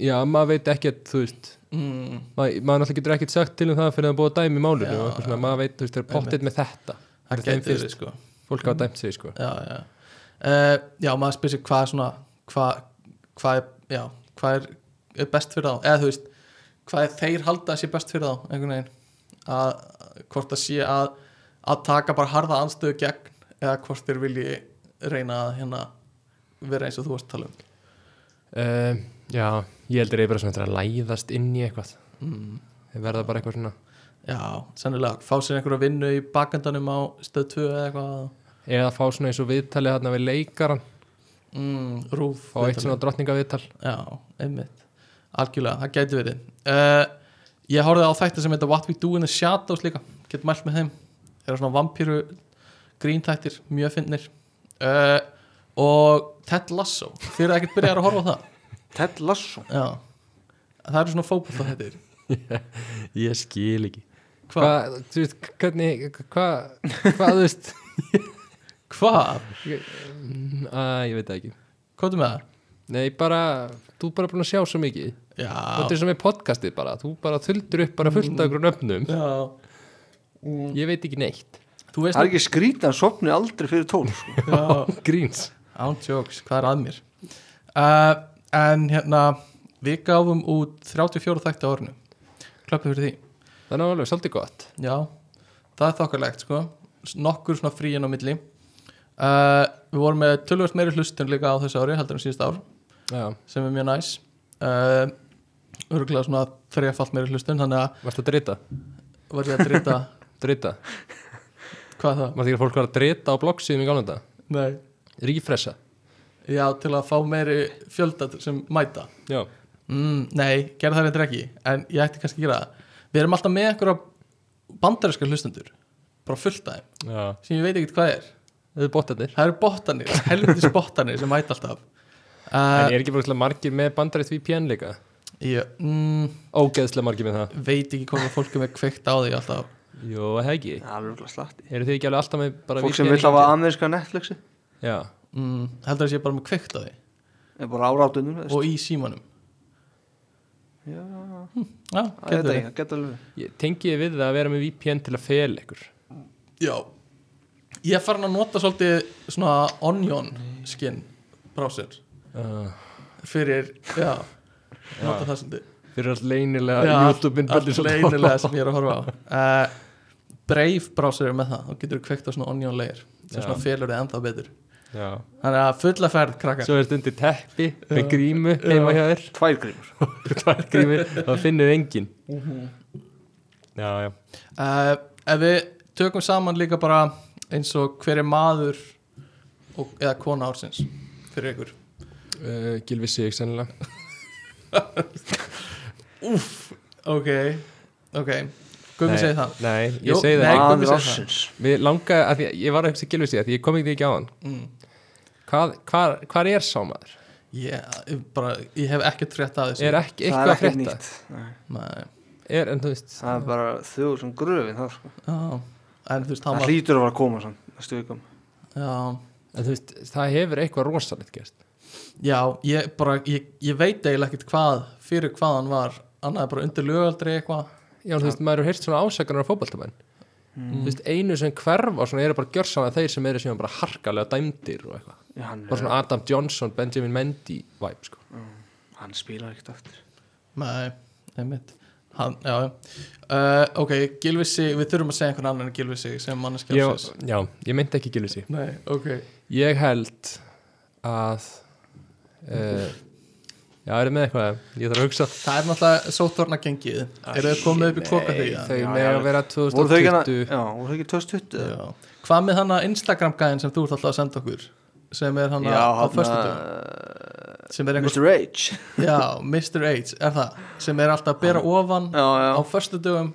já, maður veit ekkert, þú veist
mm,
maður, maður náttúrulega getur ekkert sagt til um það fyrir að búa að dæmi í málunum
Já,
og eitthvað svona, maður veit, þú veist, þeir eru pottið með þetta
það
Fyrir þeim
getur
fyrst.
við sko
fólk hafa dæmt sig sko
já, já. Eh, Uh, já, maður spyrir sig hvað er svona hvað hva er, já, hvað er er best fyrir þá eða þú veist, hvað er þeir halda að sé best fyrir þá einhvern veginn að hvort það sé að, að taka bara harða anstöðu gegn eða hvort þeir vilji reyna að hérna vera eins og þú varst að tala um
uh, Já, ég heldur ég bara svona þetta að læðast inn í eitthvað
mm.
Þeir verða bara eitthvað svona
Já, sennilega, fá sér einhverja vinnu í bakandanum á stöð 2 eða eitthvað
Eða fá svona eins og viðtalið þarna við leikaran
mm, Rúf
Fá eitt svona drottningaviðtal
Já, einmitt Algjörlega, það gæti verið uh, Ég horfði á þætti sem heita What We Do in the Shadows líka Get mælt með þeim Það eru svona vampíru grínþættir Mjög finnir uh, Og Ted Lasso Þið eru ekkert byrjar að horfa á það
Ted Lasso
Já. Það eru svona fótbolta þættir
Ég skil ekki
Hvað?
Hvað, þú veist, hvernig, hvað, hvað, þú veist
Hvað?
Æ, ég veit það ekki
Hvað er með það?
Nei, bara, þú er bara búin að sjá svo mikið Þetta
Já,
er sem er podcastið bara, þú bara þuldur upp bara fullt af grunn öfnum
Mm.
já.
Ég veit ekki neitt
Þú veist
Það er ekki skrítið að sopni aldrei fyrir tól sko.
Já.
Gríns
Án jokes, hvað er að mér uh, En hérna Við gáfum út 34 þætti á orðinu Klöppið fyrir því
Það er alveg svolítið gott
Já, það er þokkalegt sko Nokkur svona fríin á milli uh, Við vorum með tölvöld meiri hlustun líka á þessu ári Haldur en síðust ár
Já,
Sem er mjög næs uh, Örgulega svona þrejafallt meiri hlustun Þannig að
varstu að drita?
var ég að drita
Drita
Hvað það?
Maður þykir að fólk var að drita á bloggsíðum í gamla þetta
Nei
Er ekki fressa?
Já, til að fá meiri fjölda sem mæta
Já
mm, Nei, gera það reyndar ekki En ég ætti kannski að gera það Við erum alltaf með einhverja bandarinska hlustundur Bara fullt af þeim
Já
Sem ég veit ekkert hvað er
Þau bóttanir
Það eru bottanir, helvitis bottanir sem mæta alltaf
En
uh,
er ekki bara svona margir með bandarætt VPN líka?
ég mm,
Ógeðslega margir með það
Veit ekki hvað fólk er með kveikt á því alltaf
Jó, er það ekki
Það er örugglega slatti
Eru þið ekki alveg alltaf með bara
Fólk sem vil
í
hafa
gangi?
ameríska Netflixi
Já
mm, Heldur þess að ég er bara með kveikt á því
er bara árátunum Já,
Og í símanum Hm, Já,
það
getur verið.
geta alveg
Ég tengi við það að vera með VPN til að fel ykkur
Já Ég er farin að nota svolítið svona onion skin browser
uh,
fyrir, já, nota það svolítið
Fyrir allt leynilega
Já,
YouTube-myndböldi
allt leynilega sem ég er að horfa á uh, Brave browser er með það þá getur þú kveikt á svona onion layer sem
Já.
svona félur þið ennþá betur
Já
þannig að fulla ferð krakkar
Svo er stundir teppi með grímu heima hjá þér
Tvær grímur
Tvær grímu Það finnum engin
Mhm.
Já, já
uh, ef við tökum saman líka bara eins og hver er maður og, eða kona ársins fyrir ykkur
uh, Gilvi sig sennilega
ok, ok, Guðmi
Nei,
segir það
Nei, ég
Jú,
segi
nei.
það
Gummi
Maður
segir
ásins
Mér langaði, að því, að- ég var að hugsa um Gilvi sig Því ég kom ekki ekki á hann
mm.
Hvað, hvað, hvað er sá maður?
yeah, ég, bara, ég hef ekkert frétt að þessu
Er ekki
Það
eitthvað að
er ekkert
frétta?
nýtt Nei.
Nei,
Er, en þú veist
Það er bara þjóður sem gröfin það sko
já, en þú veist hann
Það
var,
hlýtur að vera að koma sann Næstu vikum
já,
En þú veist, það hefur eitthvað rosalegt gerst
Já, ég bara, ég, ég veit eiginlega ekkert hvað, fyrir hvað hann var annað er bara undir lögaldri eitthvað
Já, en þú veist, maður hefur heyrt svona ásakanar á fótboltamenn Þú veist, einu sem hverfa svona eru bara gjörsanlega þeir sem eru síðan bara harkalega dæmdir og eitthvað
Já, hann,
Bara svona Adam Johnson, Benjamin Mendy vibe, sko
hann spilar ekkert aftur
Nei, einmitt hann, Já, já uh, Ok, Gilvisi, við þurfum að segja einhvern annan en Gilvisi sem manneskja
Já,
ársins.
já, ég myndi ekki Gilvi sig
Nei, ok
Ég held að uh, Já, erum með eitthvað Ég þarf að hugsa
Það er náttúrulega sóttorna gengið Eru þau komið upp í kvoka því?
Þau
Já,
með
já,
að vera
Voru þau ekki hana-
2020
Já, voru þau ekki 2020 eða?
Já. Hvað með hana Instagram-gæðin sem þú ert alltaf að senda okkur sem er hana
Já,
á
hann
föstudum sem er einhver,
Mr. Rage
já, Mr. H er það, sem er alltaf að bera ofan
Já, já
á föstudum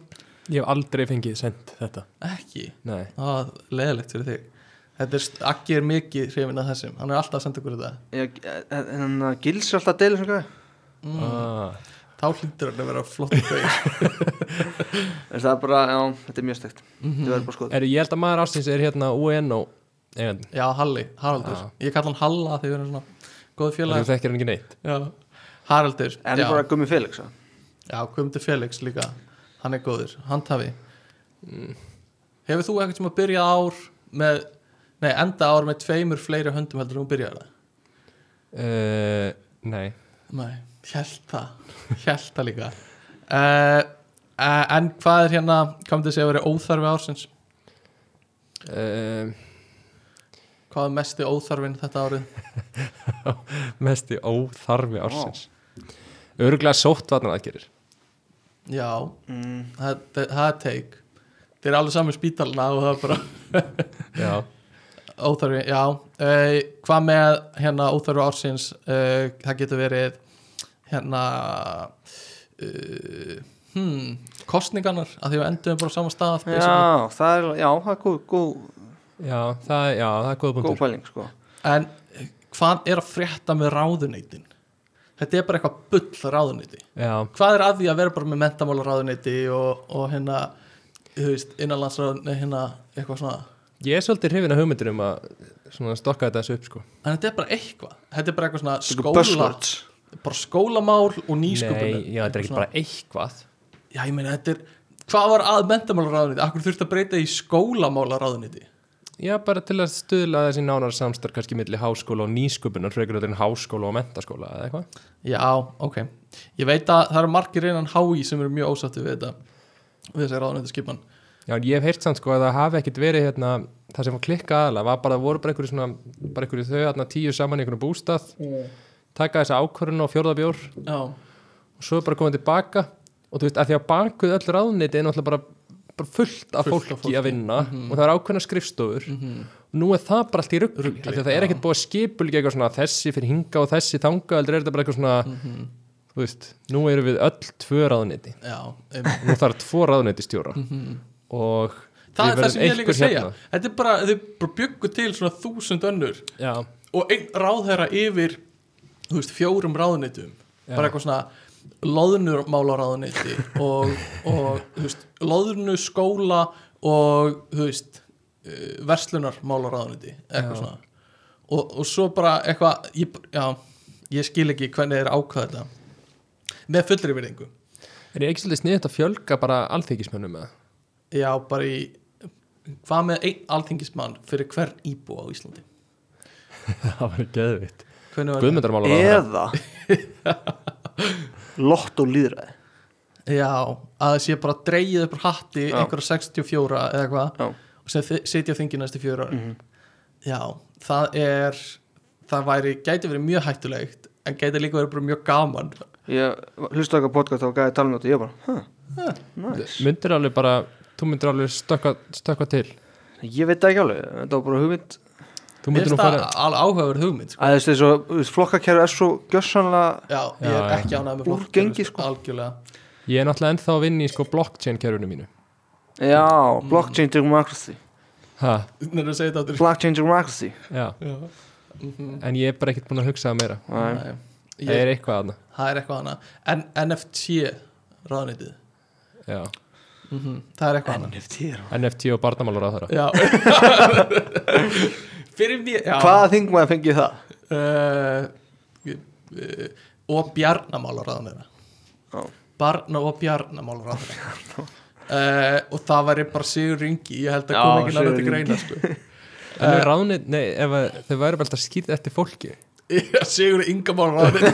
Ég hef aldrei fengið send þetta
ekki
Nei,
Það er leðilegt fyrir þig Þetta er, Akki er mikið hrifin að þessum Hann er alltaf að senda okkur þetta
Ég- En hann gils alltaf að deila sem gæði
mm.
ah,
Þá hlýtur hann að vera flott gauð.
En það er bara, já, þetta er mjög stegt Þetta verður bara skoð
er, Ég held að maður ástins er hérna UNO Eigandi
Já, Halli, Haraldur
Já.
Ég kalla hann Halla þegar við erum svona Góð
Þú
félag
þekkir hann ekki neitt
Já. Haraldur,
En
já,
það er bara gummi Felix já.
já Guðmundur Felix líka Hann er góður, handhafi Hefur þú eitthvað sem að byrja ár með, nei, enda ár með tveimur fleiri höndum heldur en þú byrjar það?
uh, Eh, Nei
Nei, Hjælt það, hjælt það líka uh, uh, En hvað er hérna Kom til að segja að vera óþarfi ársins
um,
Hvað er mesti óþarfin þetta árið
mest í óþarfi ársins öruglega sóttvarnar aðgerir
Já,
mm.
það, það, það er teik Þeir eru alveg saman spítalna og það er bara
já,
Óþarfi, já uh, Hvað með hérna óþarfi ársins uh, Það getur verið Hérna uh, hmm, Kostningarnar Að því við endum bara á sama stað basically.
Já, það er, já, það er góð, góð,
já, það, já, það er góða
góð
punktur
pæling sko.
En hvað er að frétta með ráðuneytin? Þetta er bara eitthvað bull ráðuneyti.
já,
Hvað er að því að vera bara með mentamála ráðuneyti og, og hérna, þú veist, innanlandsráðuneyti, hérna, eitthvað svona.
ég er svolítið hrifin að hugmyndir um að svona stokka þetta þessu upp sko
En þetta er bara eitthvað. Þetta er bara eitthvað svona
Sko
skóla,
buzzwords.
bara skólamál og nýsköpunum.
nei, já, þetta er ekki bara eitthvað
Já, ég meina, þetta er, hvað var að mentamála ráðuneyti? Akkur þurfti að breyta í skólamála ráðuneyti?
já, bara til að stuðla þessi nánar samstarf kannski milli háskóla og nýsköpunar frekar þetta en háskóla og mentaskóla eða eitthvað
Já, ok. Ég veit að það eru margir innan HÍ sem eru mjög ósáttu við þetta, við þessi ráðuneyti
já, en ég hef heyrt samt sko að það hafi ekkit verið hérna, það sem var klikka aðalega var bara, voru bara einhverju svona, bara einhverju þau hérna, tíu saman í einhverju bústað taka þessa ákvörun og fjórðabjór
Já.
og svo er bara komið tilbaka og þú veist, af því að bakuð öll ráðniti er náttúrulega bara, bara fullt af
Fullt
fólki,
af fólki. Mhm.
að vinna og það er ákveðna skrifstofur og nú er það bara allt í rugg af því að það er ekkert búið að skipulga eitthvað svona þessi fyrir hinga og þessi þanga heldur er þetta bara eitthvað svona
Mhm.
þú veist, nú erum við öll tvö ráðniti
Já, um,
og nú þarf tvo ráðniti stjóra og
Mhm. það
við
er það
verðum
sem ég er líka að
einhver hérna.
segja þetta er bara, þau bara byggu til svona þúsund önnur
já,
og einn ráðherra yfir þú veist, fjórum ráðunitum bara eitthvað svona loðnurmála ráðuniti og, og þú veist, loðnu skóla og þú veist verslunarmála ráðuniti eitthvað svona og, og svo bara eitthvað ég, b- já, ég skil ekki hvernig þeir ákvaða þetta með fullri verðingu
er ég ekki svolítið sniðið að fjölga bara alþykismönnum með
Já, bara í hvað með einn alþingismann fyrir hvern íbú á Íslandi
það var geðvitt
Hvernig var
Guðmundarmála
Eða Lott og líðræði
Já, að það sé bara dreigið upp úr hatti
Já.
einhverja 64 eða eitthvað
Já. Mhm.
og sem þi- sitja á þingi næstu fjögur ára Já, það er það væri, gæti verið mjög hættulegt en gæti líka verið bara mjög gaman
Ég hlusta okkar podcast og gæði tala um þetta Ég bara, hæ, næs
myndir alveg bara, þú myndir alveg stökka, stökka til
Ég veit það ekki alveg, þetta var bara hugmynd
Þú
Mér
myndir nú
finnst það
fara
alveg áhugaverð hugmynd sko.
Æ, Þú veist, þessu, þú veist, flokkakæru er svo gjössanlega
Já, ég
Já,
er
já.
ekki ánægð með flokkur, sko,
Úrgengi, sko.
Algjörlega
Ég er náttúrulega ennþá að vinna í sko blockchain kerfinu mínu
Já, blockchain democracy
ha,
Nefnir að segja þetta aftur.
Blockchain democracy
já.
Já.
En ég er bara ekkert búin að hugsa það meira
Æ,
Nei,
Það
ég-
er eitthvað aðna
Það er eitthvað annað en NFT ráðnýtið
já. Mhm.
Það er eitthvað annað
NFT er hann.
NFT og barnamálur á þeirra
Já Fyrir mér já.
Hvaða þingmaði fengið það?
Uh, uh, Og bjarnamálaráðan
Já.
Barna og bjarnamálaráðan uh, Og það væri bara Sigur Ringi Ég held að
Já,
koma ekki náttúrulega til
Sigurður
greina sko.
En uh, ráðnið, nei, ef að- þau væri bara alltaf skýrt eftir fólki
Já, Sigur Ingamálaráðan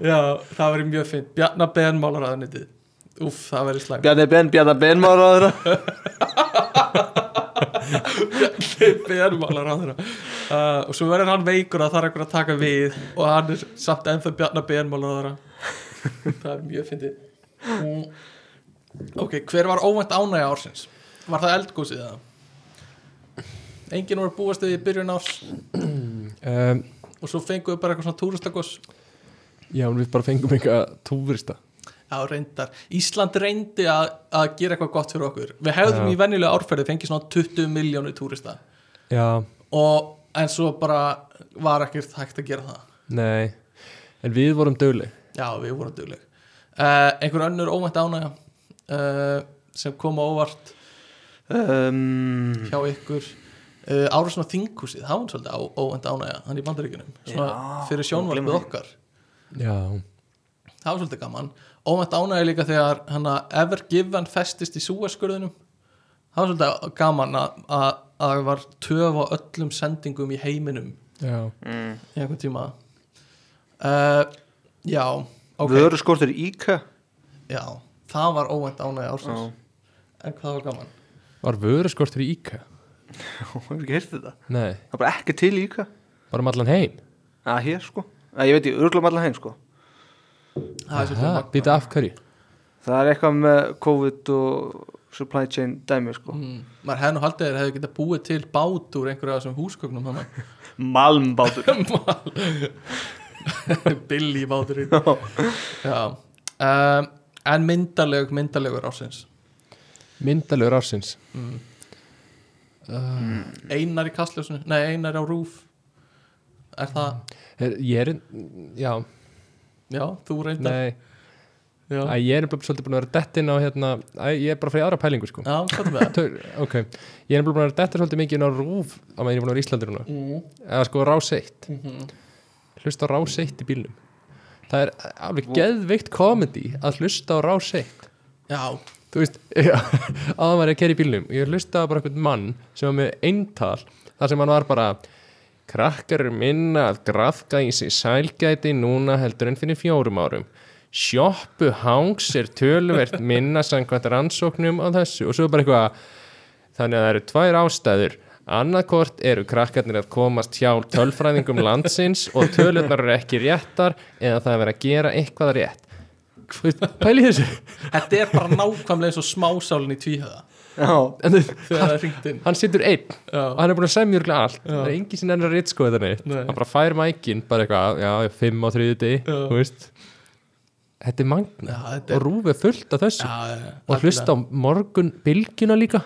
Já, það væri mjög fint Bjarnabenmálaráðan Úff, það væri slæm
Bjarni Ben, Bjarni Ben maður á þeirra
Bjarnabenmálaráðan uh, Og svo verður hann veikur að það er einhver að taka við Og hann er samt ennþá Bjarnabenmálaráðan Það er mjög fyndið Mm. Ok, hver var óvænt ánægja ársins? Var það eldgósið eða? Engin voru búast við í byrjun árs
um,
og svo fengum við bara eitthvað svona túristagos
Já, en við bara fengum einhvað túrista
Já, reyndar. Ísland reyndi að, að gera eitthvað gott fyrir okkur. Við hefðum
Já.
í venjulega árferði fengið svona 20 miljónu túrista
Já,
og en svo bara var ekkert hægt að gera það.
nei En við vorum dögleg
Já, við vorum dugleg. Uh, einhver önnur óvænt ánægja uh, sem kom á óvart
um,
hjá ykkur uh, ára svona þingkúsið, það var svolítið á, óvænt ánægja hann í bandaríkunum, svona
Já,
fyrir
glemma
sjónvarpið
því.
okkar
Já,
það var svolítið gaman, óvænt ánægja líka þegar hann að Ever Given festist í súaskurðunum það var svolítið gaman að að- að það var töf á öllum sendingum í heiminum
já
í einhvern tíma uh, já, ok
Vöru skortur íka
já, það var óvænt ánægja ársins en hvað var gaman
Var vöru skortur í IKEA?
Hún hefur ekki heyrt þetta
Nei,
Það er bara ekki til íka
bara um allan heim
að hér sko að ég veit ég örglum allan heim sko
það er svolítið
Ha,
magna.
Býta af hverju
það er eitthvað með COVID og supply chain dæmi sko
Mm, maður hefði nú haldið þeir hefði getað búið til bát úr einhverju af þessum húsgögnum þannig
Mm. malmbátur
billi bátur já um, en myndarleg, myndarlegur ásins
Myndalur ársins
einar í kastljósinu, nei einar á rúf er það,
er, Ég er, já,
já, þú reyndar
nei
já,
Æ, Ég er nefnilega svolítið búin að vera dettin á hérna Æ, Ég er bara frá í aðra pælingu sko
já hvað er með það
Tör, Ok, ég er nefnilega búin að vera dettin svolítið mikið inn á rúf á meðan ég er búin að vera í Íslandir núna
Mm,
eða sko rás eitt
mhm.
hlusta á rás eitt í bílnum það er alveg geðveikt komedi að hlusta á rás eitt
já,
þú veist, áður maður er að kera í bílnum og ég hlustaði bara einhvern mann sem var með eintal þar sem hann var bara krakkar eru minna að grafka í sig sælgæti núna heldur en fyrir fjórum árum sjoppu hangs er töluvert minna samkvæmt rannsóknum á þessu og svo bara eitthvað þannig að það eru tvær ástæður annarkort eru krakkarnir að komast hjá tölfræðingum landsins og tölurnar eru ekki réttar eða það er verið að gera eitthvað rétt Þú veist, pæli þessu
þetta er bara nákvæmlega eins og smásálinn í tvíhöða
já,
en þú,
þegar það er ringt inn
hann situr einn og
já,
hann er búin að semja örgulega allt það er engin sem ennur að ritskoða þetta neitt
Nei.
hann bara fær mækin, bara eitthvað, já, fimm á þriði degi
Já.
þú veist þetta er magna
já, þetta
og
er
rúfið fullt af þessu
já,
og hlusta á morgun bylgjuna líka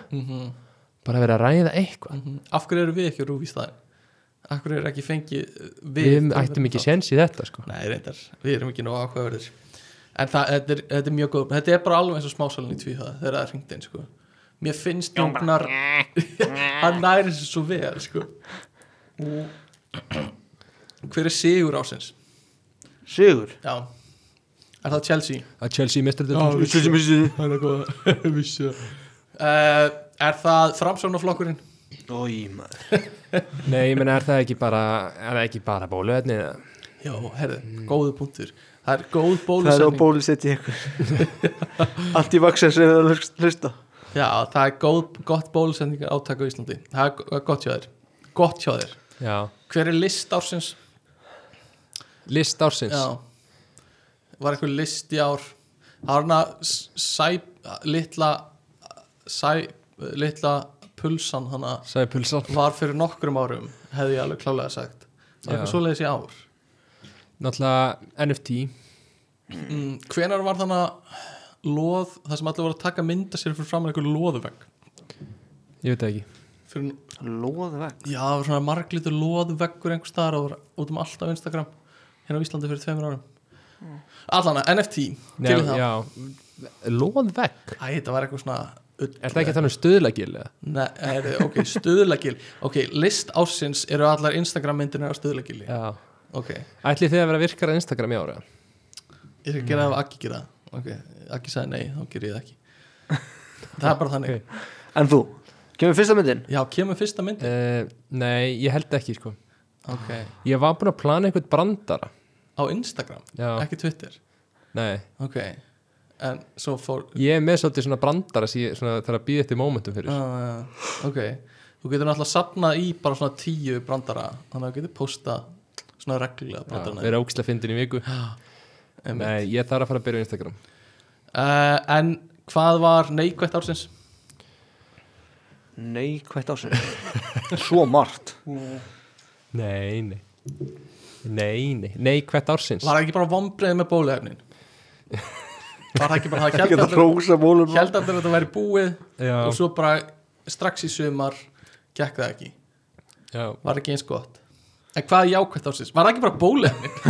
bara verið að ræða eitthvað
Mhm. af hverju eru við ekki á rúf í staðin af hverju eru ekki fengið uh, við,
við ættum ekki séns í þetta sko.
nei reyndar, við erum ekki nóg áhugaverðir en það, þetta er, þetta er mjög góð þetta er bara alveg eins og smásalinn í tvíhöða þegar það er hringt inn sko. mér finnst Jóngnar hann næri sér svo vel sko. hver er sigur ásins
sigur
já, er það Chelsea
að Chelsea mistur
Já,
þetta
Missi, missi.
hann er góð vissi uh, er það framsónaflokkurinn
Í, maður.
nei, ég menna, er það ekki bara er það ekki bara bóluefni eða?
já, herðu, góðu punktur það er góð
það er
bólusetning
á bólusetti ykkur allt í vaksa sem það hlusta
Já, það er góð, gott bólusendingar átak á Íslandi Það er go- gott hjá þér Gott hjá þér
já,
Hver er list ársins?
list ársins
Já Var eitthvað list í ár Það var hana s- sæ, litla sæ, litla pulsan hana
sagði Pulsar
var fyrir nokkrum árum hefði ég alveg klálega sagt Það er
Já.
eitthvað svoleiðis í ár
náttúrulega NFT
mm, Hvenær var þannig loð það sem allir voru að taka mynda sér fyrir framan eitthvað loðuvegg
ég veit það ekki
fyrir
loðveg
Já, það var svona marglitur loðveggur einhver staðar og það var út um alltaf Instagram hérna á Íslandi fyrir tveimur árum Allana, NFT
Nei,
til það Æ,
já, loð vekk
þetta var eitthvað svona ull-
Er það ekki að tala um stuðlagil? eða?
Nei, er, ok, stuðlagil Ok, list ársins eru allar Instagram myndinu á stuðlagili
Já
Ok,
Ætli þið að vera virkar að Instagram í ára?
ég skal gera það ef Akki gera það Ok, Akki sagði nei, þá ger ég það ekki Það er bara þannig
Ok.
en þú, kemur fyrsta myndin
Já, kemur fyrsta myndin
Uh, nei, ég held ekki sko
Ok,
Ég var búin að plana eitthvað brandara
á Instagram,
Já,
ekki Twitter
nei
Ok, en svo fór
Ég er með svolítið svona brandara sem ég- svona, þegar að býða eftir momentum fyrir sko.
Ah, já, já, ok þú getur náttúrulega sapnað í bara svona tíu brandara þannig að þú getur posta svona reglulega
Já,
brandara
Vera ókslega fyndin í viku Nei, ég þarf að fara að byrja á Instagram
uh, en hvað var neikvætt ársins?
nei, hvað á sig svo margt
Nei, nei Nei, nei, nei, hvert ársins
var það ekki bara vombrið með bóluefnin? var það ekki bara það held
geta
allir-
hrósa bólum
held allir að þetta væri búið
Já,
og svo bara strax í sumar gekk það ekki,
já
var ekki eins gott en hvað er jákvætt ársins? var það ekki bara bóluefnin?
Þú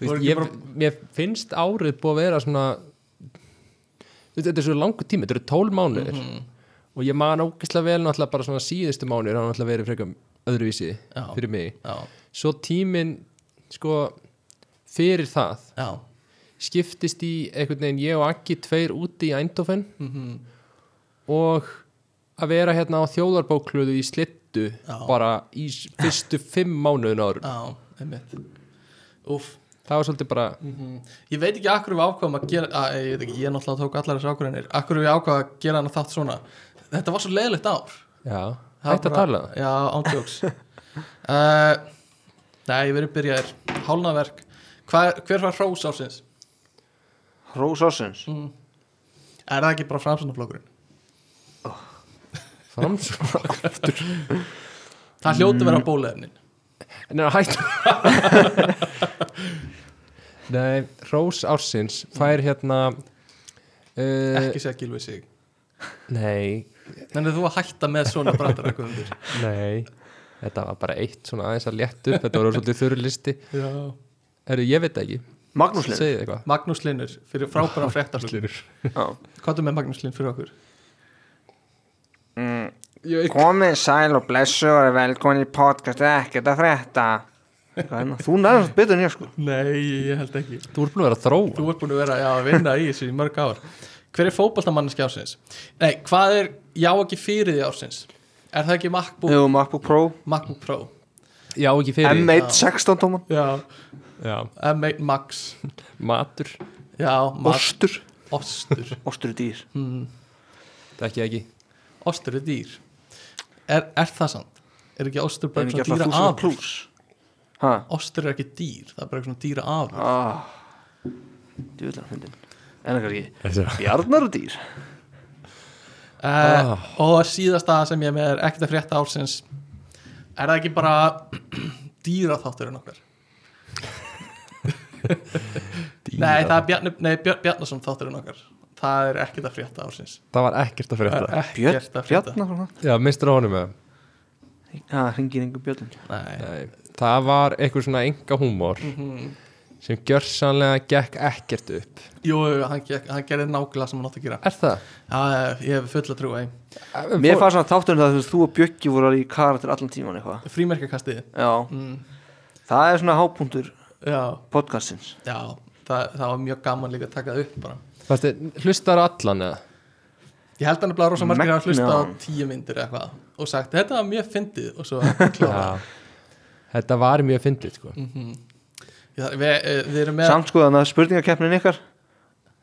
veist,
Voru ekki
ég,
bara-
mér finnst árið búið að vera svona Þú veist, þetta er svo langur tími, þetta eru tól mánuðir
Mhm.
og ég man ógeðslega vel náttúrulega bara svona síðustu mánuðir hafa náttúrulega verið frekar öðruvísi
já,
fyrir mig
já,
svo tíminn sko fyrir það
já
skiptist í einhvern veginn ég og Akki tveir úti í Eindhoven
mhm,
og að vera hérna á þjóðarbókluðu í slittu
Já.
bara í s- fyrstu fimm mánuðin árum
já, einmitt Úff Mm.
það var svolítið bara
Ég veit ekki akkur við ákvaðum að gera að, ég, veit ekki, ég náttúrulega tók allar þessu ákvörðinir Akkur við ákvaðum að gera hana þátt svona Þetta var svo leiðilegt ár
já,
Það
hætti að
var
tala
bara- Já, ándjóks uh, Nei, við erum byrjaðir Hálnaverk Hva, Hver var hrós ásins?
Rós Ásins
Er það ekki bara framsöndaflokkurinn?
framsókn
Það hljóti
Mm.
vera bóliðefnin
Nei, hætt Nei, Rós Ársins fær hérna uh,
Ekki segja gilvið sig
Nei,
Þannig að þú að hætta með svona brandarækundir
nei Þetta var bara eitt svona aðeins að létt upp Þetta voru svolítið þurru listi
Já
Herru, ég veit það ekki,
Magnús Lind
segið eitthvað
Magnús Linur fyrir frábæra fréttarslur
Já.
Hvað er með Magnús Lin fyrir okkur?
Mm, Komið sæl og blessu og er velkomin í podcast ekkert að frétta
Hvað er það? Þú nærmast betur en ég sko
Nei, ég held ekki
Þú voru búin að vera að þróa
Þú ert búin að vera já, að vinna í þessu í mörg ár Hver er fótballtamanniski ársins? Nei, hvað er já ekki fyrir því ársins? Er það ekki MacBook,
Jú, MacBook Pro
MacBook Pro?
Já, ekki fyrir
M1 16 tóman
Já
Já,
M1 Max
matur,
Já, Max
Ostur
Ostur Hmm.
Ostur er dýr
það ekki ekki
Ostur er dýr Er, er það sant? Er ekki ostur bara
En ekki
svona
alltaf
dýra
þúsund
afur?
plus Hæ?
Ostur er ekki dýr, það er bara svona dýra afur
Ah Djúvillan hundin En það kannski Bjarnar er dýr
uh, Og síðasta sem ég er með er ekkert að frétta ársins Er það ekki bara dýra þátturinn okkar? Nei, það er Bjarni, nei, Bjarn, Bjarnason þátturinn okkar Það er ekkert að frétta ársins
Það var ekkert að fyrir
Það er
þetta
Björn
ekkert að frétta
Bjarnar svona
Já, mistur á honum með
Já, hringir engu björn
Nei,
Það var einhver svona enga húmor
Mhm.
sem gjörsanlega gekk ekkert upp
Jú, hann, gekk- hann gerði nákvæmlega sem hann átti að gera
Er það?
Já, ég hef fulla trú að
Mér fannst svona þátturinn það þegar þú og Bjöggi voru í karakter allan tíman eitthvað
Frímerkakastið
Já
mm,
Það er svona hápunktur
Já,
podcastins
já það, það var mjög gaman líka að taka það upp bara
Fannst þið hlustar á allan eða?
Ég held hann að blára rosa margir að hlusta á
Magnað.
tíu myndir eða eitthvað og sagt, þetta var mjög fyndið og svo klára
Þetta var mjög fyndið sko
Já, við, eh, við erum með
Samt sko þannig að spurningakeppnin ykkar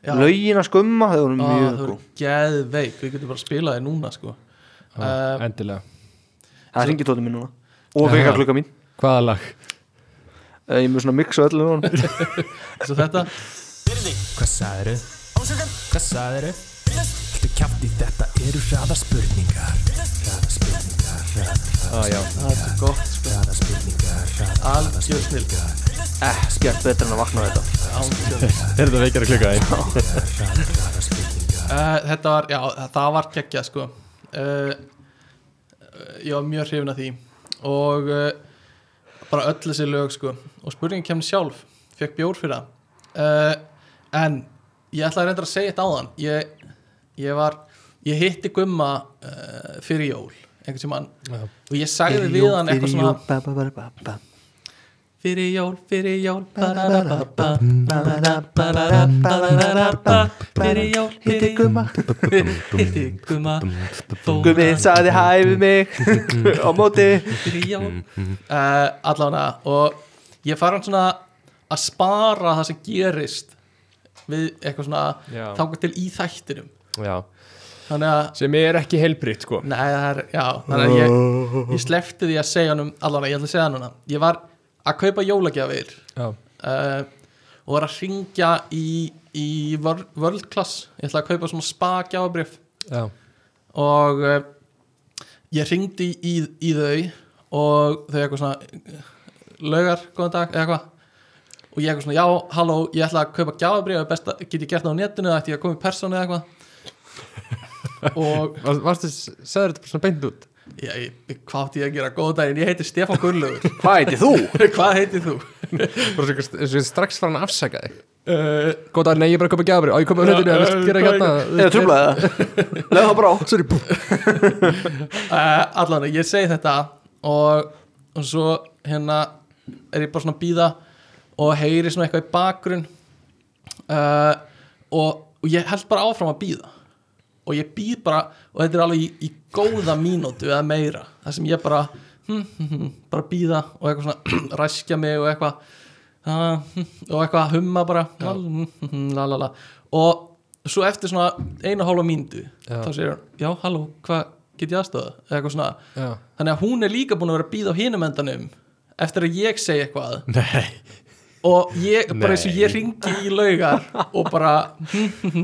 já,
Lögin að skumma, þau voru
á,
mjög
Það
góð
voru geðveik, við getum bara að spila þið núna sko.
Já,
Eh,
Endilega
Það er ringitóti mín núna Og veka klukka mín
Hvaða lag?
Eh, Ég er mjög svona mix á öllu núna
Svo þetta
Hvað sagðiru? Hvað sagðiru? Haldu kjátt í þetta eru hraða spurningar Hraða spurningar,
Ah, já.
Það er svo gott sko
hraða spurningar Hraða
Algjör snill
Ekkert betur en að vakna við þetta
Er þetta veikar að klukka eh? einn?
uh, Þetta var, já, það var geggja sko uh, Ég var mjög hrifin að því Og uh, bara öll þessi lög sko Og spurningin kemni sjálf Fekk bjór fyrir það uh, En ég ætlaði reyndar að segja þetta áðan Ég, ég var Ég hitti Gumma uh, fyrir jól Einhvern sem hann
Já.
Og ég sagði við hann eitthvað svona
svona
Fyrir jól, fyrir jól Barababa Barababa Fyrir jól,
Hitti
fyrir jól
gumma
Hitti gumma
Gummi saði hæ við mig Á móti
Fyrir jól uh, Allána og ég fara hann svona að spara það sem gerist við eitthvað svona
Já.
þangar til í þættinum
já
þannig að
Sem er ekki heilbritt sko
Nei, það er, já, þannig að ég, ég slefti því að segja hann um allan að ég ætla að segja hann núna Ég var að kaupa jólagjafir
Já.
uh, og var að ringja í, í Wor- World Class Ég ætla að kaupa svona spa gjafabrif
Já,
og uh, ég ringdi í, í þau og þau eitthvað svona laugar, góðan dag, eða eitthvað og ég eitthvað svona, já, halló, ég ætla að kaupa gjafabrif best að get ég gert það á netinu eða ætti ég að koma í persónu eða eitthvað og
Var- varstu, sagður þetta bara svona beint út?
Já, ég, hvað átti ég að gera? Góða daginn, ég heiti Stefán Gunnlaugur
Hvað heiti þú?
Hvað heitir þú?
Bara svona einhver- eins og ég strax fara hann að afsaka þig
Uh,
Góð dag, nei, ég er bara að koma að gjafabrið Á, ég kom á hlutinu, ég vil gera hérna
Eða trublaði það? Leðu það bara á
Sorry, bú
Eh, allan, ég segi þetta og, og svo hérna er ég bara svona að býða og heyri svona eitthvað í bakgrunn uh, og, og ég held bara áfram að býða og ég býð bara og þetta er alveg í, í góða mínútu eða meira það sem ég bara hm, hm, hm, bara býða og eitthvað svona ræskja mig og eitthvað ah, hm, og eitthvað að humma bara la, hm, hm, la la la og svo eftir svona eina hálfa mínútu
Já.
þá segir hún, já halló, hvað get ég aðstöða eða eitthvað svona,
Já.
þannig að hún er líka búin að vera að býða á hinum endanum eftir að ég segi eitthvað
Nei
og ég, bara eins og
Nei.
ég ringi í laugar og bara hm,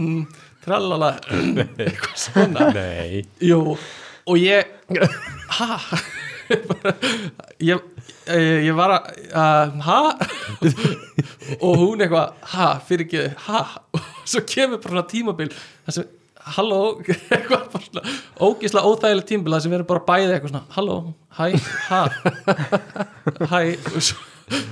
trallala eitthvað svona
Nei
Jú, og ég ha bara, ég, eh, ég var að uh, ha og hún eitthvað ha, fyrir ekki, ha og svo kemur bara svona tímabil þar sem, halló eitthvað bara svona, ógislega óþægileg tímabil þar sem við erum bara bæðið eitthvað svona, halló, hæ, ha hæ og svo,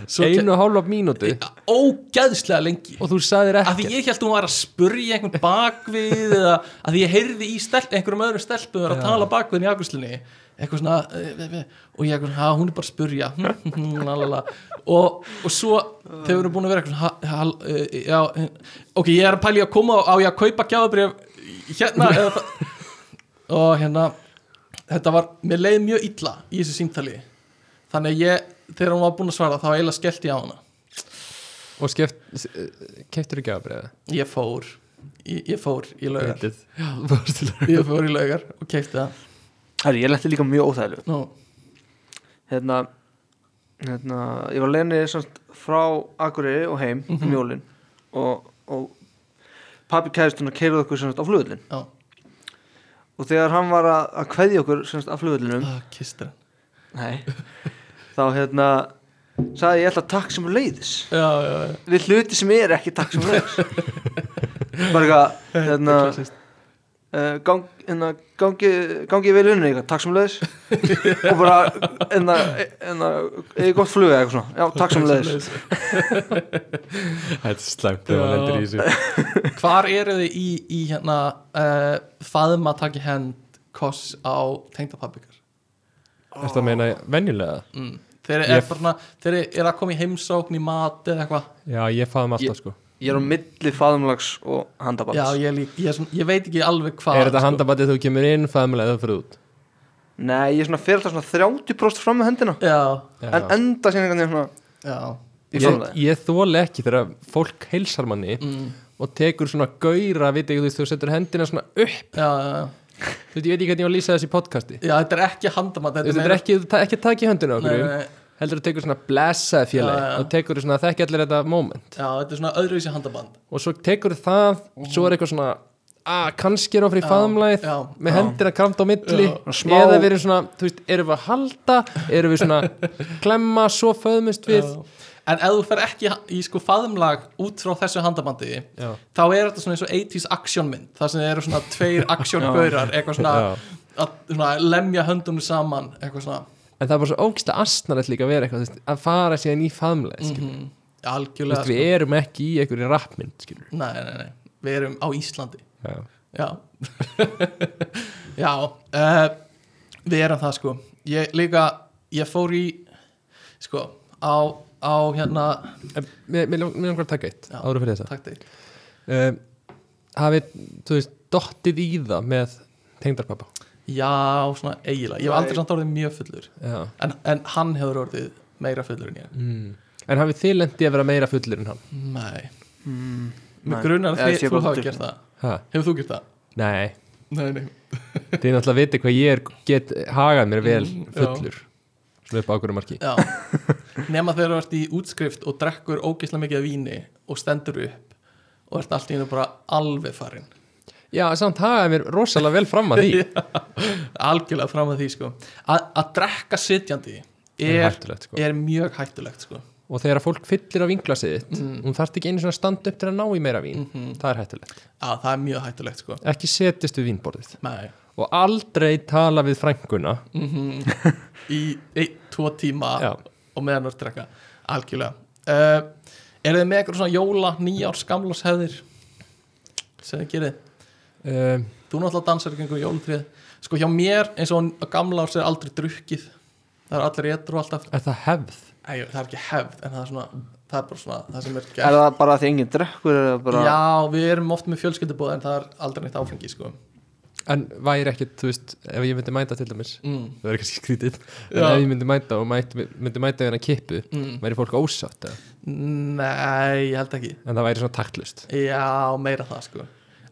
svo
Einu og hálfa mínútu
ógeðslega lengi
Og þú sagðir
að því
ekki
ég held hún var að spurja einhvern bakvið eða að því ég heyrði í stelp, einhverjum öðrum stelpum vera að tala bakviðin í afgjörslinni eitthvað svona eh, eh, eh, og ég eitthvað, ha, hún er bara að spurja la, la, la. og, og svo þegar við erum búin að vera eitthvað svona, ha, ha, eh, já, eh, ok, ég er að pæli að koma á, á ég að kaupa gjáðabrif hérna eða, það- og hérna þetta var, mér leið mjög illa í þessu símtali þannig að ég, þegar hún var búin að svara þá eiginlega skellti ég á hana
Og keftur ekki að breyða
ég fór, ég, ég fór í laugar
Eitið
ég fór í laugar og keipti það
Herri, ég lenti líka mjög óþægilegu
Nú,
hérna, hérna ég var leiðinni samt frá Akureyri og heim mm mjólin og, og pappi kæðistun að keirað okkur semst á flugvöllin
já,
og þegar hann var að, að kveðja okkur semst á flugvöllinum
að kistur hann
nei, þá hérna sagði ég ætla takk sem leiðis
já, já, já,
við hluti sem er ekki takk sem leiðis bara eitthvað hérna, uh, gang, hérna, gangi, gangi vel unni eitthvað, takk sem leiðis og bara hérna, hérna, eða gott flug eða eitthvað svona já, takk sem leiðis
Þetta er slæmt þegar maður lendir í þessu
hvar eru þið í, í hérna uh, faðma taki hend koss á tengdapappikar
Ertu að meina venjulega?
mm. þeir
Ég-
eru bara þeir eru að koma í heimsókn í mat eða eitthvað
Já, ég faðum alltaf
Ég-
sko
Ég er á milli faðumlags og handabats
já, ég, lík, ég, er svona, ég veit ekki alveg hvað
Er þetta handabætið þú kemur inn, faðumlega eða fyrir út?
Nei, ég er svona fyrir alltaf svona 30% fram með hendina
já,
Já.
En enda síðan einhvern veginn svona
já,
í
ég,
framlega
ég þóla ekki þegar fólk heilsar manni
Mm.
og tekur svona gauðra, veit ekki þú veist, þú setur hendina svona upp
já, já, já.
þú veit, ég veit ekki hvernig ég var að lýsa þessi podcasti
já þetta er ekki handamat
þú veist, þetta er ekki, ta- ekki að taka í höndina okkur
Nei, nei.
heldur þú tekur svona blessaði félagi
Já, já.
og tekur þú svona þekki allir þetta moment
já, þetta er svona öðruvísi handaband
og svo tekur þú það, svo er eitthvað svona að kannski er ofri í
Já,
faðumlæð
já,
með
já.
hendina kamt á milli
Já.
Smá-
eða við erum svona, þú veist, erum við að halda erum við svona klemma svo föðmust við
Já. En ef þú fer ekki í sko faðumlag út frá þessu handabandi
Já.
þá er þetta svona eins og 80s actionmynd þar sem eru svona tveir actiongaurar eitthvað svona,
Já.
að, svona lemja höndunum saman eitthvað svona
en það er bara svo ógsta astnarlegt líka að vera eitthvað þú veist, að fara síðan í faðumlæð mm
mm,
Þú
algjörlega
veist, við erum ekki í einhverju rappmynd skilur
sko. nei, nei, nei, við erum á Íslandi
já.
Já Já uh, Við erum það sko Ég líka, ég fór í sko, á, á hérna
En mér, mér, lang- mér langar að taka eitt
Já.
áður fyrir þessa
takk þig
um, hafið, þú veist, dottið í það með tengdarpappa
Já, svona eiginlega, ég hef aldrei samt orðið mjög fullur
já.
en, en hann hefur orðið meira fullur en ég
Mm. en hafið þið lendið að vera meira fullur en hann
Nei,
mm,
mig
Nei.
grunar
Eða
að
sé
þið, þú
bara
hafa
fullur.
gert það
ha.
Hefur þú gert það?
nei,
Nei, nei
þið náttúrulega vitið hvað ég er, get hagað mér vel
Mm, já.
fullur svona upp á okkur marki
Já, nema þegar þú ert í útskrift og drekkur ógeðslega mikið af víni og stendur upp og ert allt í hennu bara alveg farinn
já, samt hagaði mér rosalega vel fram að því
algjörlega fram að því sko A að drekka sitjandi
Það er
er,
hættulegt, sko.
er mjög hættulegt sko
og þegar að fólk fyllir á vinglasiðið mm. hún þarf ekki einu svona að standa upp til að ná í meira vín
Mhm.
það er hættulegt,
að það er mjög hættulegt sko
ekki setist við vínborðið
Nei,
og aldrei tala við frænguna
Mhm. í ein, tvo tíma
Já.
og meðan þú ert að drekka algjörlega uh, Er þið með eitthvað svona jóla, nýjárs, gamlashefðir sem þið gerir
um,
Þú náttúrulega dansar ekki einhver jólutrið Sko hjá mér eins og á gamlárs er aldrei drukkið Það er allir etru alltaf
er það hefð
Æ, Það er ekki hefð en það er svona það er bara svona það sem er gert
Er það bara því enginn drekkur eða bara
Já, við erum oft með fjölskyldubóð en það er aldrei neitt áfengi sko.
en væri ekkit, þú veist, ef ég myndi mæta til dæmis
mm.
það verður kannski skrítið en
Já.
ef ég myndi mæta og mæt, myndi mæta hérna kippu
Mm.
væri fólk ósátt eða?
Nei, ég held ekki
en það væri svona taktlust
Já, meira það sko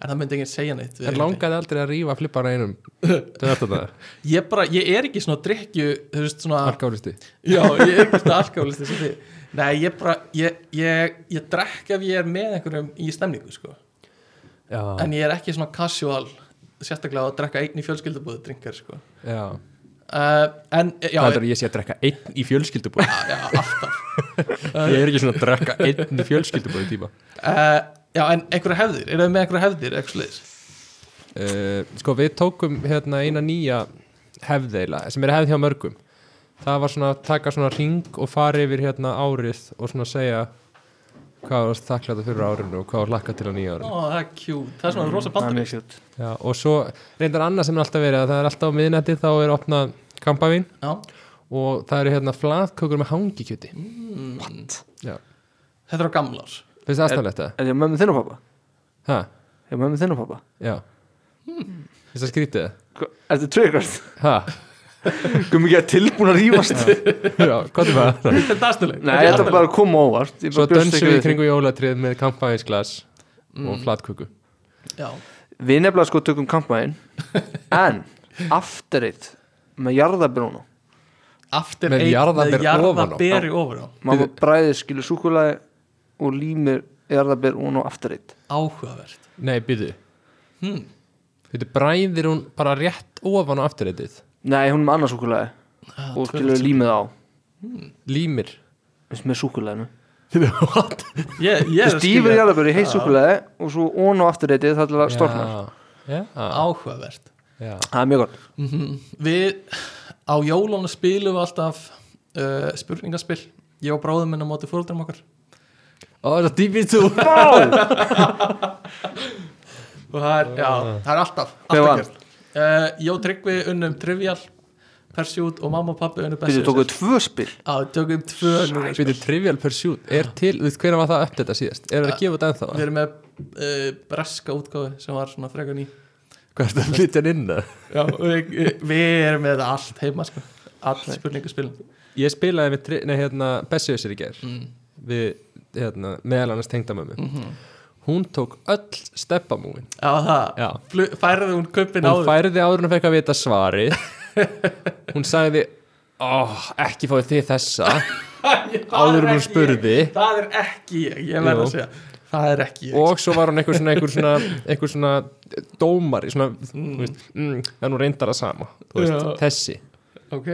En það myndi enginn segja neitt við
en
einhvern
langaði aldrei að rífa flippara einum til þetta það,
veginn. Ég bara, ég er ekki svona drikju Þú veist svona
alkálisti
Já, ég er ekki svona alkoholist eins og því Nei, ég bara, ég, ég, ég drekk ef ég er með einhverjum í stemningu sko.
já,
En ég er ekki svona casual Sérstaklega að drekka einn í fjölskyldubúðu drinkar sko.
já.
uh, En, já,
það er að ég sé að drekka einn í fjölskyldubúi
já, alltaf
ég er ekki svona að drekka einn í fjölskyldubúi tíma
uh, Já, en einhverja hefðir, eru þið með einhverja hefðir eitthvað sliðis?
uh, sko við tókum hérna eina nýja hefðeila sem er hefð hjá mörgum það var svona að taka svona ring og fara yfir hérna árið og svona segja hvað var þakklæta fyrir á árinu og hvað var lakka til á nýja árinu
Ó, það er cute, það er svona rosa bandur
mjög sjött
Já, og svo reyndar annað sem er alltaf verið að það er alltaf á miðnætti þá er opnað kampavín
Já,
og það eru hérna flatkökur með hangikjöti Já,
Mm. þetta eru gamlar
finnst það aðstæðanlegt það?
Er ég mömmu þinn og pappa?
Hæ,
Er ég mömmu þinn og pappa?
já
Hmm.
Finnst það skrítið?
Hva- Ertu triggered?
Hæ,
Guðum ekki að tilbúin að rífast
já, hvað er það?
Þetta er aðstöðleg
Nei, þetta bara að koma á óvart Ég
Svo
bara bjóst
dönsum
ekki
við
við
í kringu jólatrið með kampavínsglas og flatköku
Já,
því. Við nefnilega sko tökum kampaðin En afterið með jarðabrúnu
aftur
Með
eitt
jarðaber
með
ofan á.
jarðaberi ofan á
Mamma bræðir skilu súkulaði og límir jarðabér og nú afterið
Áhugavert
Nei, byrðu
hmm.
Þetta bræðir hún bara rétt ofan á afturreitið
Nei, hún er með annað súkulaði
Ah,
og
tvöfalt
skilu límið á
Límir
veist, með súkulaðinu
What?
Ég, ég er að
Stífur
skilja
jarðabér í heitt súkulaði og svo og nú afterið það til að storkna
Já, já,
áhugavert
já.
Það er mjög gott
Við á jólónu spilum við alltaf uh, spurningaspil Ég og bráðum minn á móti fóruldrum okkar
Ó, það er dýpið þú
og það er, já, það er alltaf,
Hver
alltaf
vann?
gert uh, Jó Tryggvi unnum Trivial Pursuit og mamma og pappi unnum
Við
Bessus
tókum tvö spil
Já, við tökum tvö núna
Býtu, Trivial Pursuit er til, þú veist hvernig var það uppdata síðast? Er það að gefa þetta ennþá?
Við erum með uh, breska útgáfi sem var svona frekar ný
Hvað er þetta að flytja hann inn? það?
Já, og við, við erum með allt heima sko Allt spurningaspil
Ég spilaði með, tri- nei, hérna, Bessiðsir í ger við, hérna, meðal annars tengdamömmu Hún tók öll steppamúin
Já, það,
Já
Flu, færði hún kaupin
Hún
áður
færði áður en fekk að vita svari Hún sagði Ó, ekki fáið þið þessa
Ég- það
áður en
er
hún
ekki
spurði.
ég. Það er ekki ég, ég verð
Jú.
að segja Það er ekki ég
og svo var hún einhver svona, einhver svona, einhver svona dómari svona, mm. veist, mm, en hún reyndar að sama þú veist,
Já.
þessi
Ok,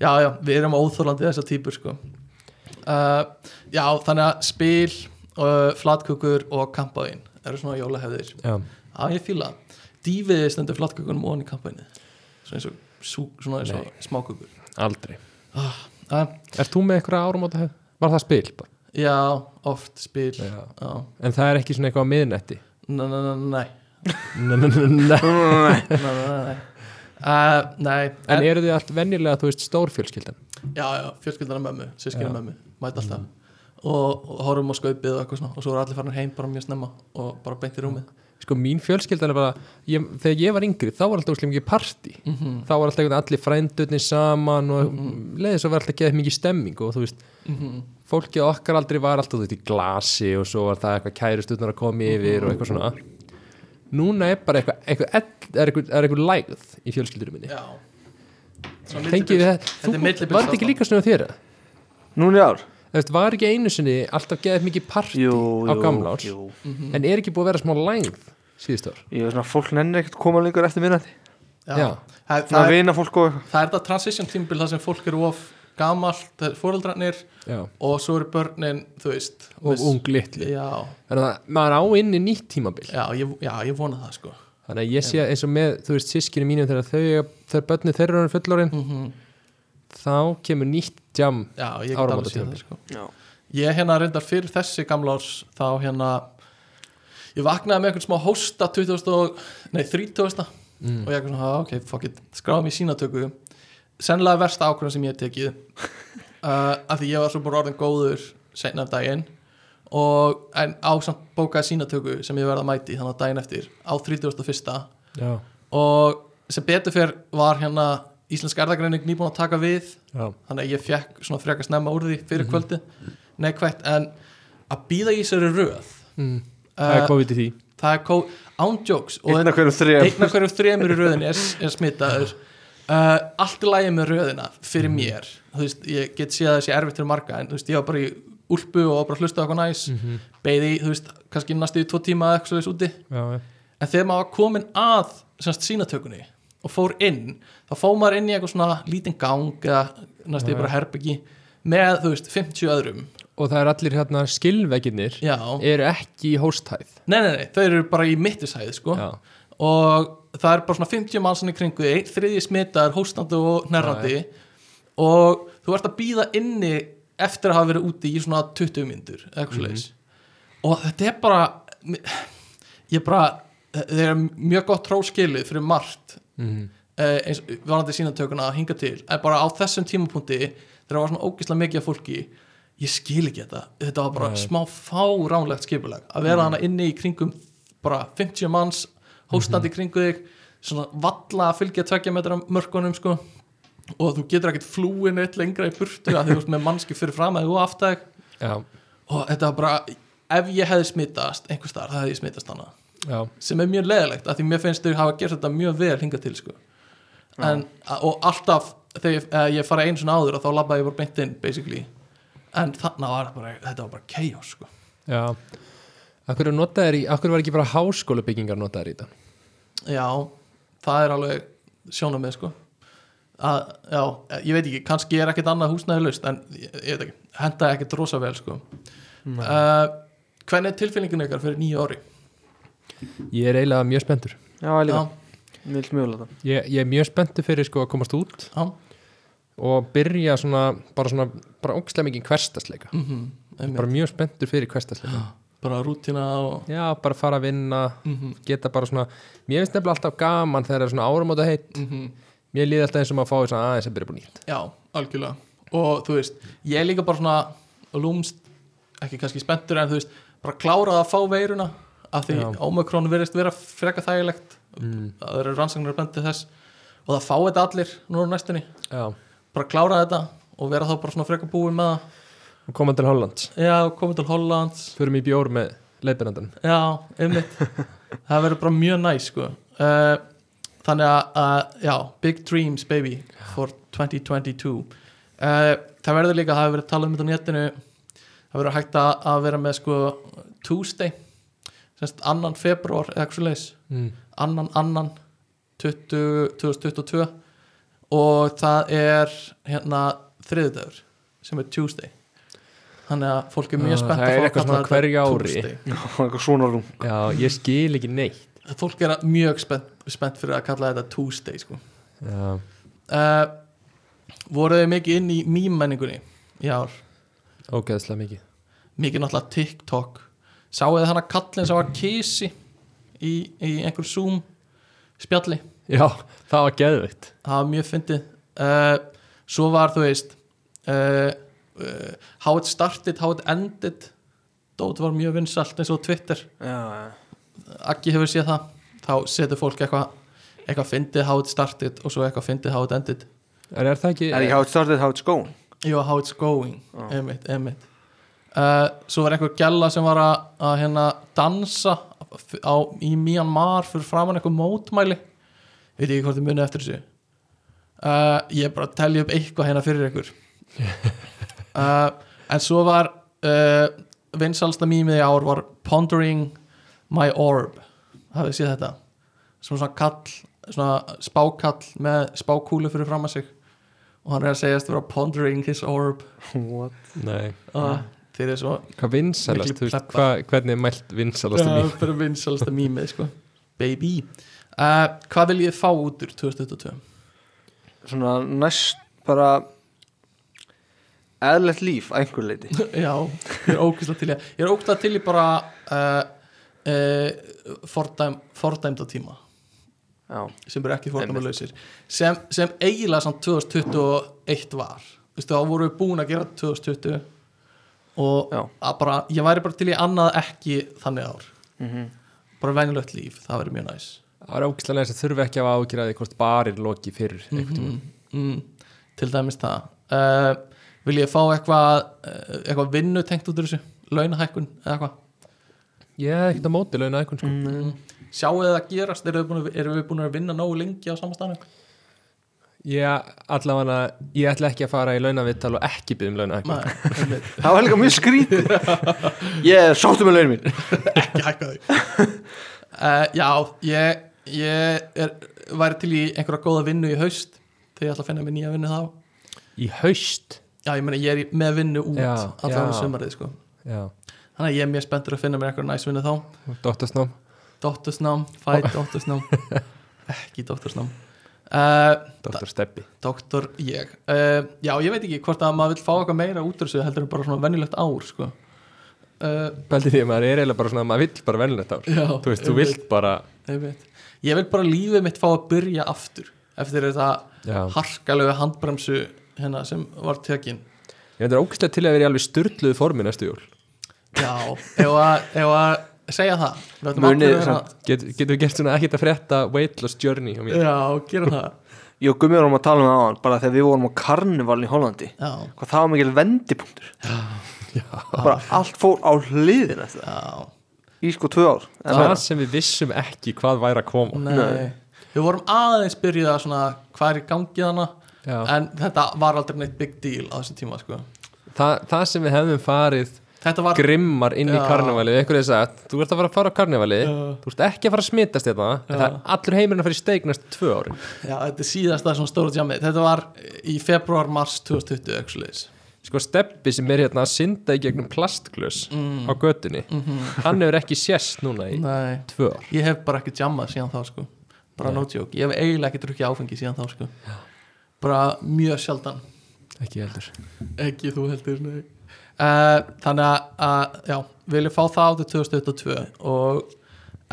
já, já, við erum óþólandi þessar típur sko uh, Já, þannig að spil, uh, flatkukur og kampaðin eru svona jólahefðir
Já.
Já, ég fíla það. Dýfið stendur flatkukunum ofan í kampaðinu Svo eins og, sú, svona eins og smákukur
aldrei
uh,
Ert þú með einhverja árum á þetta? Var það spil? bara?
Já, oft spil Já,
En það er ekki svona eitthvað á miðnetti
Nei, nei, nei, nei,
Nei, nei, nei, nei.
nei, nei, nei, nei. Uh, nei.
En eru þið allt venjulega, þú veist, stórfjölskyldan?
já, já, fjölskyldana mömmu, sískina mömmu mæta alltaf og, og horfum á skaupið og eitthvað svona og svo er allir farin heim bara mjög snemma og bara beint í rúmið
Sko, mín fjölskyldan er bara ég, Þegar ég var yngri, þá var alltaf óslega mikið partí Þá var alltaf einhvern veginn allir frændurnir saman og leiðis og var alltaf geðið mikið stemming og þú veist, fólkið okkar aldrei var alltaf þú veist í glasi og svo var það eitthvað kærustutnar að koma yfir og eitthvað svona Núna er bara eitthvað, eitthvað ell- er eitthvað, er eitthvað lægð í fjölskyldurum minni
já Svona
Tengið
millibils-
þið það,
þetta er
þú,
millibils
var þetta ekki
ástand.
líka svona þér?
Núna í ár
Þú veist, var ekki einu sinni alltaf geðið mikið partí
Jú,
á
jú,
gamla árs
jú.
en er ekki búið að vera smá lægð síðust ár?
Ég er svona fólk nennir ekkert koma lengur eftir minnandi
já.
Já.
Það,
Svona
það, er,
vina fólk og eitthvað
það er það transition tímbil þar sem fólk eru of gamalt fóreldrarnir
Já,
og svo eru börnin þú veist
og ung litli
já,
Þannig að maður á inn í nýtt tímabil
já, ég, já, ég vona það sko
Þannig að ég sé eins og með, þú veist, sískinu mínum þegar þau, eiga- þegar börni þeirra eru fullorinn
Mhm.
þá kemur nýtt jam
já, ég get alveg
Áramóta
séð
tímabil.
það sko
Já.
Ég hérna reyndar fyrir þessi gamla árs þá hérna ég vaknaði með einhvern smá hósta 20 og, nei 30
Mm.
og ég eitthvað svona, "Ah, ok, fuck it, skráði mig í sínatöku sennilega versta ákvörðan sem ég hef tekið uh, af því ég var svo bara orðin góður seinna af daginn og en á samt bókaði sínatöku sem ég verða að mæti þannig að daginn eftir á 31.
Já,
og sem betur fyrr var hérna Íslensk erðagreining nýbúin að taka við
Já.
þannig að ég fekk svona frekar snemma úr því fyrir
Mhm.
kvöldi neikvægt en að býða í sér röð
Mm. Það er
uh,
COVID í því
það er kó ándjóks og hérna
Einn af hverjum þrejum
einn af hverjum þremur í röðinni er, er smitaður uh, allt í lagi með röðina
Mhm.
fyrir mér þú veist, ég get séð að það sé erfitt fyrir marga en þú veist, ég var bara í úlpu og var bara að hlusta á eitthvað næs mm
Mhm.
-hmm. beði, þú veist, kannski næstu í tvo tíma eða eitthvað svo úti
já, já.
en þegar maður var komin að semst, sínatökunni og fór inn þá fór maður inn í eitthvað svona lítinn gang eða næstu í bara herbyggi með, þú veist, 50 öðrum
Og það er allir hérna skilveginir
já,
eru ekki í hósthæð
nei, nei, nei, þau eru bara í mittisæði sko
Já,
og það er bara svona 50 málsann í kringu því, þriðji smitaður, hóstandi og nærrandi og þú ert að býða inni eftir að hafa verið úti í svona 20 myndur eitthvað mm og þetta er bara ég bara þeir eru mjög gott tróskilið fyrir margt
Mhm.
eh, eins varandi sínatökuna að hinga til en bara á þessum tímapunkti þegar það var svona ógislega mikið af fólki ég skil ekki þetta, þetta var bara smá fáránlegt skipulag að vera hana inni í kringum bara 50 manns hóstandi í kringu þig svona valla að fylgja tvekja metra mörkunum sko og þú getur ekkert flúin eitt lengra í burtu að þú veist með mannski fyrir fram að þú aftæk
já,
og þetta var bara, ef ég hefði smittast einhvers þar, það hefði ég smittast hana
já
sem er mjög leðilegt af því mér finnst þau hafa gert þetta mjög vel hingað til sko. en, og alltaf þegar ég- eh, ég fara einu svona áður og þá labbaði ég bara beint inn basically en þannig var það bara, þetta var bara chaos sko.
Já Akkur, er notaðir í, akkur var ekki bara háskólabyggingar notaðir í þetta?
já, það er alveg sjónum með sko. að, já, eh, ég veit ekki, kannski er ekkert annað húsnæði laust en ég, ég veit ekki, hendaði ekkert rosa vel sko. uh, hvernig er tilfinningin ykkar fyrir nýju ári?
Ég er eiginlega mjög spenntur
Já, ég líka,
Já,
mér vil mjög láta
Ég, ég er mjög spenntur fyrir sko að komast út
já,
og byrja svona, bara svona, bara ógstlega mikið hverstasleika
mhm, einmitt.
Bara mjög spenntur fyrir hverstasleika
bara rútina og
Já, bara fara að vinna,
mhm,
geta bara svona Mér finnst nefnilega alltaf gaman þegar það er svona áramóta heitt
mhm
Mér líði alltaf eins og maður fái svona aðeins að byrja búin nýtt
Já, algjörlega og þú veist, ég er líka bara svona lúmst, ekki kannski spenntur en þú veist, bara klárað að fá veiruna af því
Já.
ómakrón verðist vera freka þægilegt, það eru rannsaknar bendið þess og það fá þetta allir núna á næstunni,
Já,
bara klárað þetta og vera þá bara svona freka búin með
og koma til Hollands
það já, komið til Hollands
Förum í bjór með leiðbyrjandan
Já, einmitt Það verður bara mjög næs sko uh, Þannig að, að, já, big dreams baby for 2022 uh, Það verður líka, það hefur verið talað um þetta á netinu Það verður hægt að, að vera með sko Tuesday semst annan februar eða eitthvað leis
mm.
annan annan 20, 2022 og það er hérna þriðudagur sem er Tuesday Þannig að fólk er
Já,
mjög spennt
Ah, það
að
er
fá að
eitthvað
kalla
svona hverju ári.
Tuesday
Eitthvað svona rúm
Já, ég skil ekki neitt
fólk er mjög spennt, spennt fyrir að kalla þetta Tuesday sko.
Já,
uh, voruð þið mikið inn í mýmenningunni í ár
ógeðslega mikið
mikið náttúrulega TikTok sáuð þið hana kallin sem var kísi í, í einhver Zoom spjalli,
Já, það var geðveikt
það var mjög fyndið uh, svo var þú veist uh, uh, how it started, how it ended Dót var mjög vinsalt eins og Twitter
Já,
Akki hefur séð það þá setur fólk eitthvað eitthvað fyndið how it started og svo eitthvað fyndið how it ended
Er, er það ekki
já Er ég how it started, how it's going
Jó, how it's going einmitt, einmitt uh, Svo var einhver gælla sem var að, að hérna dansa f- á, í Myanmar fyrir framann einhver mótmæli veit ekki hvort þið munið eftir þessu uh, Ég er bara að telja upp eitthvað hérna fyrir ykkur uh, En svo var uh, vinsalsta mýmið í ár var Pondering my orb hafið þið séð þetta sem svona kall, svona spákall með spákúlu fyrir framann sig og hann er að segjast að vera pondering his orb
What?
Nei
Ah.
og þeir eru svo
Hvað vinsalast,
Miklu
þú veist,
plebba.
hva, hvernig er mælt vinsalast um
Það er bara vinsalasta mýmið sko baby uh, hvað vil ég fá út úr 2022
Svona næst bara Eðlilegt líf, að einhver leiti
já, ég er ógæslega til í að- ég er ógæslega til í bara uh, uh, fordæm, fordæmda tíma
Já,
sem eru ekki fordæmalausir sem, sem eiginlega samt 2021 var Vistu, þá voru við búin að gera 2020 og
Já.
að bara, ég væri bara til í annað ekki þannig ár
mhm
bara venjulegt líf, það verður mjög næs
það er ógæslega þess að þurfi ekki að hafa ágjur að því hvort barir loki fyrir einhvern tímann
mm, til dæmis það uh, vil ég fá eitthvað uh, eitthvað vinnu tengt út úr þessu launahækkun eða eitthvað
ég hef ekkert á móti launa einhvern sko
Mm. sjáu það gerast, erum við búin að, erum við búin að vinna nógu lengi á samastanum
ég allavega, ég ætla ekki að fara í launavittal og ekki byggja um launa einhvern
það var líka mjög skrítið ég er sáttu með launin mín
ekki hækka þau uh, já, ég, ég er, væri til í einhverja góða vinnu í haust þegar ég ætla að finna mér nýja vinnu þá
í haust
já, ég meina, ég er í- með vinnu út
Já,
allavega
já.
sumarið, sko
já,
þannig að ég er mjög spenntur að finna mér einhverja næs vinnu þá
dottersnám
dóttursnám, fæ dóttursnám ekki dóttursnám uh,
dottersteppi
Doktor ég uh, Já, ég veit ekki hvort að maður vill fá eitthvað meira út úr þessu heldur en bara svona venjulegt ár sko. uh,
Pældi því að maður er eiginlega bara svona að maður vill bara velnett ár
Já,
þú veist, þú
einmitt.
vilt bara
einmitt. Ég vil bara lífið mitt fá að byrja aftur eftir þetta
já.
harkalegu handbremsu hérna sem var tekin
ég veit það er ógæslega til að vera í alveg styrluðu formi næstu jól
Já, ef að, ef að segja það Við ætlum
Munið
allir að vera-
Get, getur við gert svona ekkert að frétta weight loss journey á mér
hérna. Já, gera það
ég og Gummi vorum að tala um það áðan bara þegar við vorum á karnivalin í Hollandi
Já,
hvað það var mikil vendipunktur bara allt fór á hliðin eftir það
já
í sko tvö ár en
það
meira.
sem við vissum ekki hvað væri að koma
Nei. Við vorum aðeins byrjuð að svona hvað er í gangi þannig
Já.
en þetta var aldrei neitt big deal á þessum tíma sko.
Þa, það sem við hefðum farið
Þetta var
grimmar inn í
Já.
karnevalið einhver hefði sagt, þú ert að fara að fara á karnevalið þú ert ekki að fara að smitast þetta en það er allur heimurinn að fara í steik næstu tvö ári
Já, þetta er síðasta svona stóra jammið Þetta var í februar, mars 2020 auksleis.
sko steppi sem er hérna að synda í gegnum plastglös á götunni hann hefur ekki sérst núna í
Nei
tvö ár
Ég hef bara ekki jammað síðan þá sko Bara no joke, ég hef eiginlega ekki drukkið áfengi síðan þá sko Bara mjög sjaldan
ekki heldur
Ekki þú heldur, nei uh, Þannig að, að, já, við viljum fá það á til 2022 Og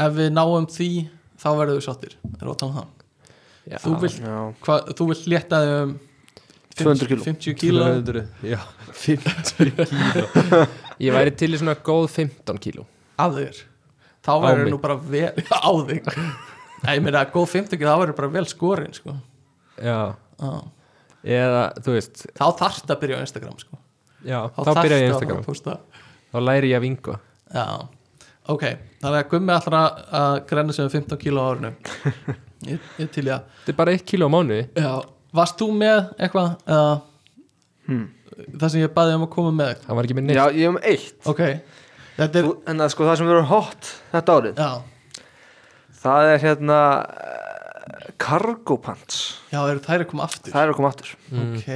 ef við náum því, þá verðum við sáttir Erum við að tala um það?
Já.
Þú vilt,
Já.
hva, þú vilt létta þig um
200 kíló.
50 kíló
200, já, 50 kíló ég væri til í svona góð 15 kíló
af þér þá verður
mig.
nú bara vel á þig Nei, ég meina, góð 50 þá verður bara vel skorinn sko.
já,
Já.
eða þú veist
þá þarft að byrja á Instagram sko.
já, þá byrja ég
þarftu að
Instagram,
fara að posta.
þá læri ég að vinga
Já. ok, þannig að gummi allra að grenna sig um 15 kíló á árinu ég, ég til ég
þetta er bara 1 kíló á mánuði
að já. varst þú með eitthvað eða
Hmm.
það sem ég baði um að koma með
hann var ekki með
já
neitt
ég hef um eitt
ok, þetta er
Þú- en það sko það sem verður hot þetta árið
já,
það er hérna eh, cargo pants
já eru þær að koma aftur
það er að koma aftur
ok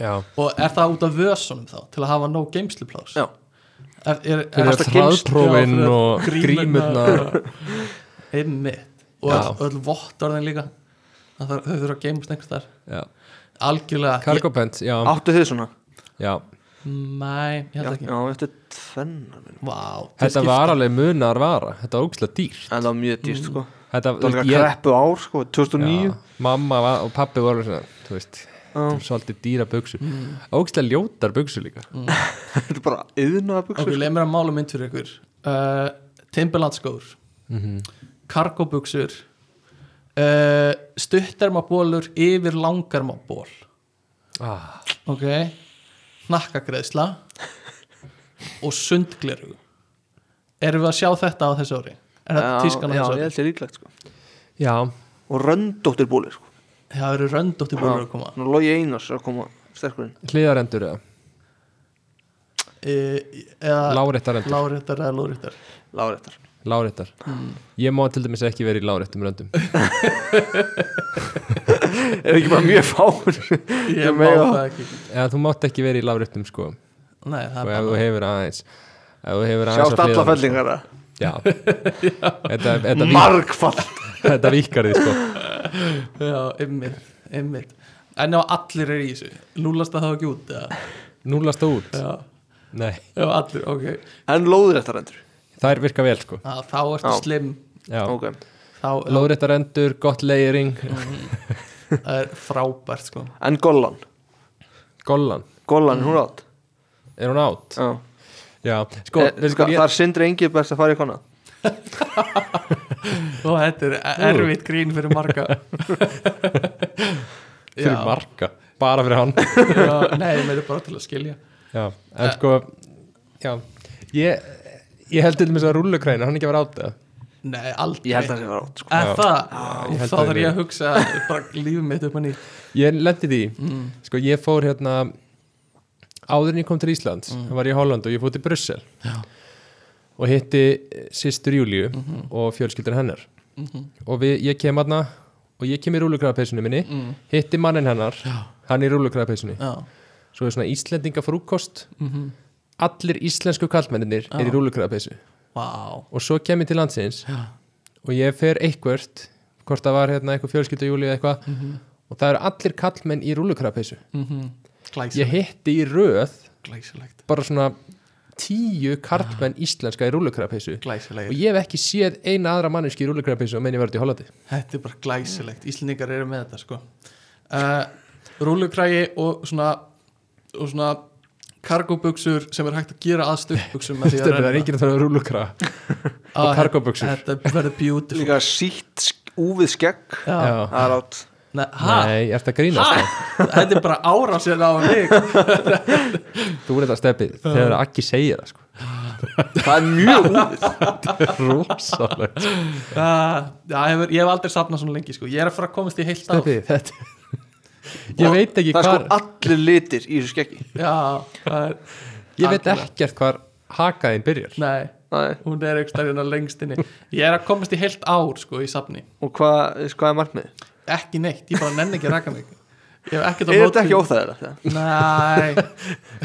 já.
Og er það út af vösunum þá til að hafa nóg geimsluplás?
Já.
Er, er, er
fyrir hraðprófin og grímurnar
Einmitt Og
Já.
öll, öll vottorðin líka Það þarf, þau þurfa að geimast einhvers þar
Já.
Algjörlega
cargo pants, já,
áttu þið svona
já.
ég, Mæ, ég held ekki
já eftir tvenna minn.
Vá, þau
þetta
skipta.
var alveg munar vara þetta var ógæslega dýr
en það var mjög dýrt sko það
þetta,
var líka kreppu ár sko 2009
Já, mamma var, og pappi voru svona, þú veist þetta er svolítið dýra buksu mm. ógæslega ljótar buksu líka
þetta er bara sko. yðnaða
Ok,
buksur
leið mér að mála mynd fyrir ykkur uh, Timberland skór
Mhm.
Kargobuxur uh, Stuttarmabólur Yfir langarmaból
ah,
Ok Hnakkagreðsla Og sundgleru Erum við að sjá þetta á þessu ári? Er þetta tískan á
já
þessu
ég
ári?
held sér líklegt sko
já,
og röndóttir búlir sko
Það eru röndótti búin að koma
nú logi Einars er að koma sterkurinn
hliðarendur eða
e, Eða
Ah,
láréttarendur
láréttar eða lóréttar
láréttar
Láréttar
Mm.
Ég má til dæmis ekki verið í láréttum röndum
er ekki bara mjög fáur
Ég má
mega.
það ekki
Eða þú mátt ekki verið í láréttum sko
Nei, það
Og
er
ef þú
bara
hefur aðeins Ef þú hefur aðeins á
sjást alla
hliðarnar,
fellingar
sko. Já Þetta, þetta, vík,
margfall
þetta víkar því sko
Já, einmitt, einmitt En ef allir eru í þessu Lúlast það þá ekki út eða?
Núlast það út
Já,
Nei,
ef allir, ok
en lóðréttarendur
þær virka vel sko
Að, Þá ertu
Já.
slim
Já okay.
okay.
Þá
Láréttarendur, gott layering
Mhm.
það er frábært sko
en gollan
Gollan
gollan er hún átt
Er hún átt?
Já.
Já Sko,
Eh,
veistu
sko
hvað ég-
þar sindri engið best að fara í kona
og þetta er e- erfitt grín fyrir marga
fyrir
Já.
marga, bara fyrir hann
Já, nei, mér er bara til að skilja
já,
Eh,
en sko já, ég ég held til dæmis að rullukræna, hann ekki að vera átt eða?
Nei, aldrei
Ég held að það sé var átt sko.
Ef
Já.
það,
Ég held
þá
að
þarf
ég-
ég að hugsa bara lífið mitt upp að nýtt
ég lendi því,
Mm.
sko ég fór hérna áður en ég kom til Íslands var ég í Holland og ég fór til Brussel
Mm. Já.
og hitti eh, systur Júliu
Mhm.
og fjölskyldur hennar og við, ég kem aðna og ég kem í rúlukræðapeysunni minni hitti mannin hennar, hann í rúlukræðapeysunni
Mm. Já, Mhm.
svo er svona Íslendinga frúkost allir íslensku kallmenninir er í rúlukræðapeysu
vá
og svo kem ég til landsins
Já.
og ég fer eitthvert hvort það var hérna eitthvað fjölskyldu júli eða eitthvað og það eru allir kallmenn í rúlukræðapeysu ég
Glæsilegt,
hitti í röð
glæsilegt
bara svona tíu karlmenn íslenska í rúlukræðapeysu og
Glæsilegt,
ég hef ekki séð eina aðra manneski í rúlukræðapeysu og menn ég var út í Hollandi
þetta er bara glæsilegt Íslendingar eru með þetta, sko uh, Rúlukrægi og svona og svona kargobuxur sem er hægt að gera að stuttbuxum með því að
Stöfnir, það er
renna.
ekki að það er rúlukræða
Ah,
kargóbuxur.
Þetta verður beautiful
Líka sítt sk- úfið skegg
Já.
Já.
Það er átt
Nei, ha?
Nei, ert að grínast sko. það?
Þetta er bara árásir á mig
Þú er þetta stefið þegar Akki segir það sko.
Það er mjög úfið
Rósalegt
Uh, já, hefur, ég hef aldrei safnað svona lengi sko. Ég er að fara að komast í heilt á
Stefið, þetta Ég veit ekki
Það er
hvar
sko allir litir í þessu skeggi
Já, það er
Ég veit
algjörlega.
ekkert hvar hakaðin byrjar
Nei,
Nei.
hún er ekki stærðina lengst inni Ég er að komast í heilt ár sko, í safni
Og hvað hvað er markmið?
Ekki neitt, ég bara nenni ekki að raka mig Ég hef ekkert á
Er þetta
nótum.
ekki óþægilegt?
Nei,